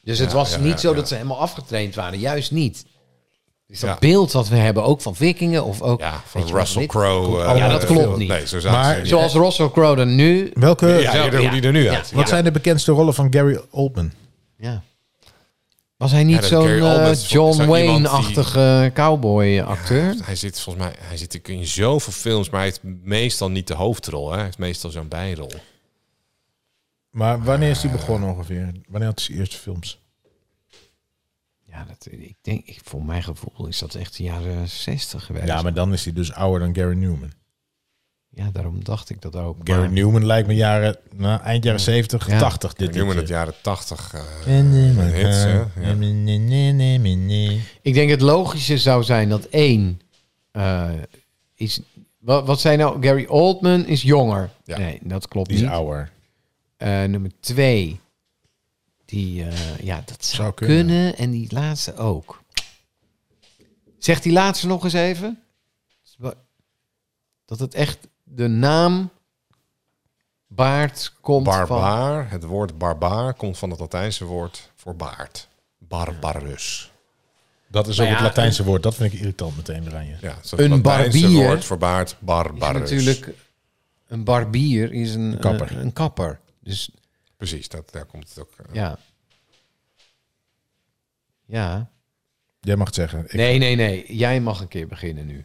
Dus het
Ja,
was
ja,
niet
ja,
zo
ja.
dat ze helemaal afgetraind waren. Juist niet. Dus dat
Ja.
beeld dat we hebben, ook van vikingen of ook...
Ja,
weet
van
je wel,
Russell
dit-
Crowe. eh,
Ja, dat klopt
veel-
niet.
Nee, zo zaten
Maar-
ze niet.
Zoals Russell Crowe er nu...
Welke,
Ja, ja, hoe die er nu
Ja.
uit.
Wat zijn de bekendste rollen van Gary Oldman?
Ja. Was hij niet
dat
zo'n
Gary Oldman
eh,
is vol-
John
zo iemand die-
Wayne-achtige cowboy-acteur?
Hij zit volgens mij, hij zit in zoveel films, maar hij heeft meestal niet de hoofdrol. Hè. Hij heeft meestal zo'n bijrol.
Maar wanneer is die begonnen ongeveer? Wanneer had hij zijn eerste films?
Ja, dat, ik denk, ik, voor mijn gevoel is dat echt de jaren 60 geweest.
Ja, maar dan is hij dus ouder dan Gary Newman.
Ja, daarom dacht ik dat ook.
Gary
Maar-
Newman lijkt me jaren, nou, eind jaren 70,
Ja.
80. Dit eh,
We noemen het
liedje.
jaren tachtig. eh, hits, hè? Ja.
Ja.
Ik denk het logische zou zijn dat één eh, is... Wat, wat zei nou? Gary Oldman is jonger.
Ja.
Nee, dat klopt
Die is
niet.
ouder.
Eh, nummer twee, die... eh, ja, dat zou,
Zou kunnen.
kunnen. En die laatste ook. Zeg die laatste nog eens even. Dat het echt de naam baard komt van...
Barbaar, het woord barbaar komt van het Latijnse woord voor baard. Barbarus.
Dat is ook
Maar Nou ja, eh,
het Latijnse woord. Dat vind ik irritant meteen, Ranje.
Ja, het is
Een
het Latijnse
barbier
woord voor baard,
Is
barbarus.
natuurlijk een barbier is een,
kapper.
kapper. een kapper. Dus
Precies, dat, daar komt het ook. eh,
ja. Ja.
Jij mag het zeggen. Ik-
Nee, nee, nee. Jij mag een keer beginnen nu.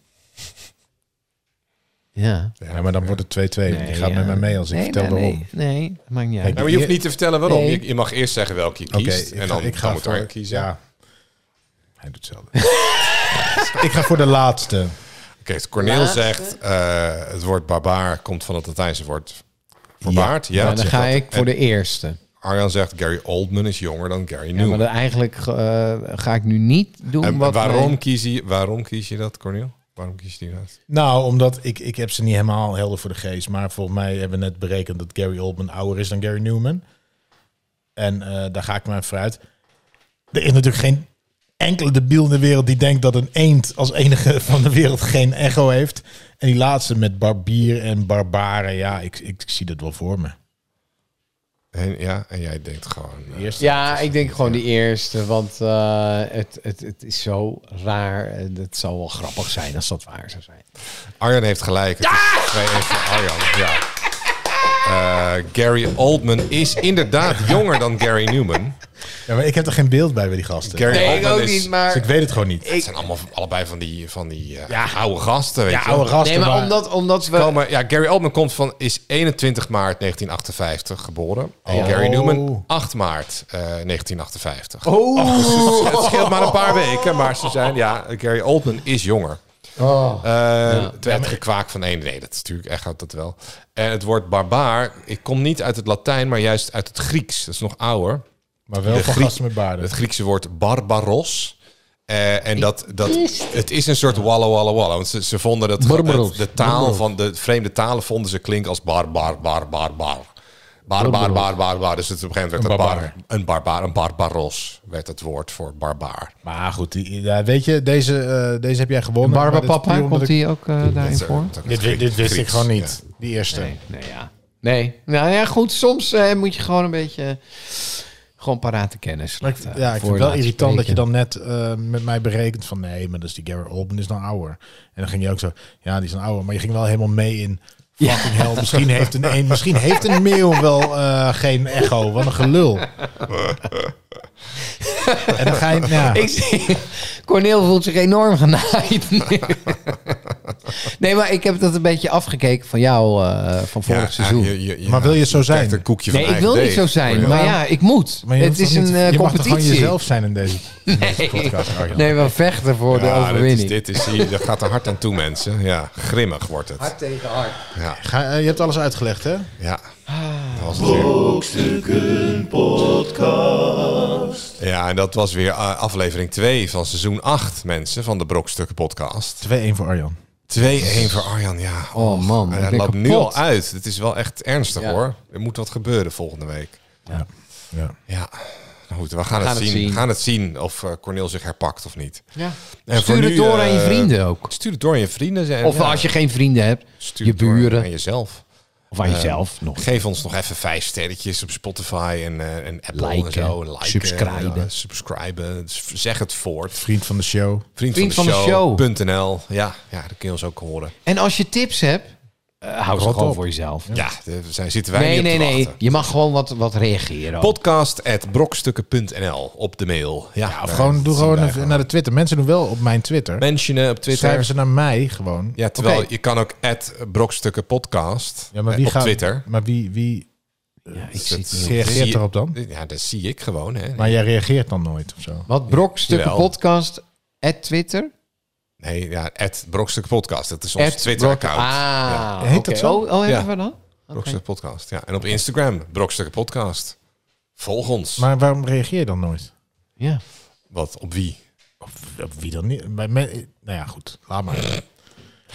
Ja.
Ja, maar dan wordt het 2-2. want
Nee,
je gaat
ja.
met mij mee als ik
nee,
vertel
nee,
waarom.
Nee, nee, dat maakt niet uit.
Ja, maar je hoeft niet te vertellen waarom.
Nee.
Je, je mag eerst zeggen welke je
Oké,
kiest.
ik
en
ga-
dan,
ik ga
dan moet
voor-
hij kiezen.
Ja. Hij doet hetzelfde. ik ga voor de laatste.
Oké, dus Corneel
Laatste.
zegt eh, het woord barbaar komt van het Latijnse woord voor
Ja.
baard. Ja,
Ja, Nou, dan
zegt
ga
dat.
ik voor de eerste.
Arjan zegt Gary Oldman is jonger dan Gary
Ja, maar
Newman.
dan eigenlijk eh, ga ik nu niet doen
en
wat...
waarom,
mijn-
kies je, waarom kies je dat, Corneel? Waarom kies je die dat?
Nou, omdat ik, ik heb ze niet helemaal helder voor de geest. Maar volgens mij hebben we net berekend dat Gary Oldman ouder is dan Gary Newman. En eh, daar ga ik maar vooruit. Er is natuurlijk geen enkele debiel in de wereld die denkt dat een eend als enige van de wereld geen echo heeft. En die laatste met barbier en barbaren. Ja, ik, ik, zie dat wel voor me.
En, ja, en jij denkt gewoon... eh,
Eerst
Ja, ik denk gewoon die eerste, want eh, het, het, het is zo raar. En het zou wel grappig zijn als dat waar zou zijn.
Arjan heeft gelijk. Het
Ah!
is 2-1 voor Arjan, ja. Eh, Gary Oldman is inderdaad jonger dan Gary Newman.
Ja, maar ik heb er geen beeld bij bij die gasten.
Gary
Nee, ik
Oldman
ook
is,
niet,
Dus
maar...
ik weet het gewoon niet.
Het zijn allemaal allebei van die, van die eh, oude gasten, weet
ja,
je wel.
oude gasten.
Nee, maar
maar-
omdat, omdat we...
Komen- ja, Gary Oldman komt van, is 21 maart 1958 geboren. En
Oh.
Gary Newman 8 maart eh, 1958.
Oh.
Het scheelt maar een paar weken, maar ze zijn... Ja, Gary Oldman is jonger.
Oh.
Eh, Het werd gekwaak van één. Nee, dat is natuurlijk echt houdt dat wel. En het woord barbaar, ik kom niet uit het Latijn, maar juist uit het Grieks. Dat is nog ouder.
Maar wel
De
van
Griek-
gasten met baarden.
Het Griekse woord barbaros. Eh, en dat, dat, het is een soort wallo wallo wallo. Want ze, ze vonden dat
Barbaros.
het- de taal van de vreemde talen vonden ze klinken als bar, bar, bar, bar, bar. Bar, bar, bar, bar, bar. Dus het, op een gegeven moment werd
Een
dat bar, een barbaar, een barbaros werd het woord voor barbaar.
Maar goed, die, ja, weet je, deze, eh, deze heb jij gewonnen. Maar dit is puur
Barbapapa,
omdat
komt
ik-
die ook eh, daarin
Dat is, eh,
voor?
dat is
Dit, wi-
Griek-
dit wist ik
Grieks,
gewoon
ja.
niet. Die eerste.
Nee, ja. Nee. Nou ja, goed. Soms eh, moet je gewoon een beetje... eh, Gewoon parate kennis.
Maar ik,
laten
ja, ik vind
voor
het wel
laten
irritant dat je
spreken.
dan net eh, met mij berekent van nee, maar dat is die Gary Oldman is nou ouder. En dan ging je ook zo, ja, die is nou ouder. Maar je ging wel helemaal mee in fucking hell. Misschien heeft een, een, misschien heeft een meeuw wel eh, geen echo. Wat een gelul. en dan ga je, nou, ja,
Ik zie- Corneel voelt zich enorm genaaid. nu. nee, maar ik heb dat een beetje afgekeken van jou eh, van vorig
Ja,
seizoen.
je- je- je-
Maar wil je zo
krijgt
zijn?
een koekje
nee,
van
ik wil
eigen
niet zo
deeg.
zijn.
Ja.
Maar ja, ik moet.
maar je
het
hoeft toch
is een
niet-
eh,
je mag toch gewoon
competitie.
jezelf zijn in deze
nee.
podcast. Arjan?
nee, we vechten voor de
Ja, dit is,
overwinning.
dit is, hier- dat gaat er hard aan toe, mensen. Ja, grimmig wordt het.
tegen hard.
Ja,
Ga, eh, je hebt alles uitgelegd, hè?
ja. Dat was het weer.
Brokstukken Podcast.
Ja, en dat was weer eh, aflevering 2 van seizoen 8, mensen, van de Brokstukken podcast.
2-1 voor Arjan.
2-1 voor Arjan, ja.
Oh man,
en
ik
hij
ben
loopt nu
kapot.
al uit. Het is wel echt ernstig,
Ja.
hoor. Er moet wat gebeuren volgende week.
Ja. ja.
Ja, nou goed, we gaan, het, zien. We gaan het zien of eh, Cornel zich herpakt of niet.
Ja.
En voor
Stuur het
nu,
door aan je
eh,
vrienden ook.
Stuur het door aan je vrienden. En,
Of
ja,
als je geen vrienden hebt,
stuur
je
het door
buren.
Aan jezelf.
Of aan jezelf nog.
Geef ons nog even vijf sterretjes op Spotify en, eh, en Apple en
Liken,
zo. En Liken,
subscriben.
ja, subscriben. Dus Zeg het voort.
Vriend van de show.
Vriend,
Vriend
van, de,
van de
show. .nl. Ja, ja, dat kun je ons ook horen.
En als je tips hebt, eh, hou ze
Rot
gewoon
op.
voor jezelf.
Ja, daar zijn, zitten wij
Nee,
niet
nee,
op te
nee.
wachten.
Je mag gewoon wat, wat reageren. ook.
Podcast.brokstukken.nl op de mail. Ja,
Of
daar
gewoon, doe
zien
gewoon
wij
even naar de Twitter. Mensen doen wel op mijn Twitter.
Mentionen op Twitter.
Schrijven ze naar mij gewoon.
Ja, terwijl
Oké.
je kan ook at Brokstukken Podcast eh,
Ja, maar wie
op
gaat,
Twitter. Dus
Maar wie, wie
Ja, ik zie het niet.
Zie
reageert
je-
erop dan?
Ja, dat zie ik gewoon. Hè.
Maar jij reageert dan nooit of zo.
Wat Brok, stukken
Jawel.
podcast, at Twitter.
Nee, ja, at Brokstukken Podcast. Dat is ons
At Brok-
Twitter-account.
Ah,
Heet
oké.
dat zo?
Oh, oh hebben
Ja.
we dan?
Brokstukken Podcast. Ja. En op Instagram, Brokstukken Podcast. Volg ons.
Maar waarom reageer je dan nooit?
Ja.
Wat, op wie?
Of, of wie dan niet? Bij me- nou ja, goed. Laat maar.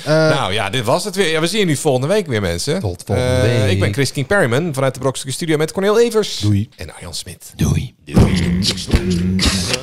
nou ja, dit was het weer. Ja, we zien jullie volgende week weer, mensen.
Eh, Tot volgende
Eh,
week.
Ik ben Chris King Perryman vanuit de Brokstukken Studio met Cornel Evers.
Doei.
En Arjan Smit.
Doei.
Brokstukken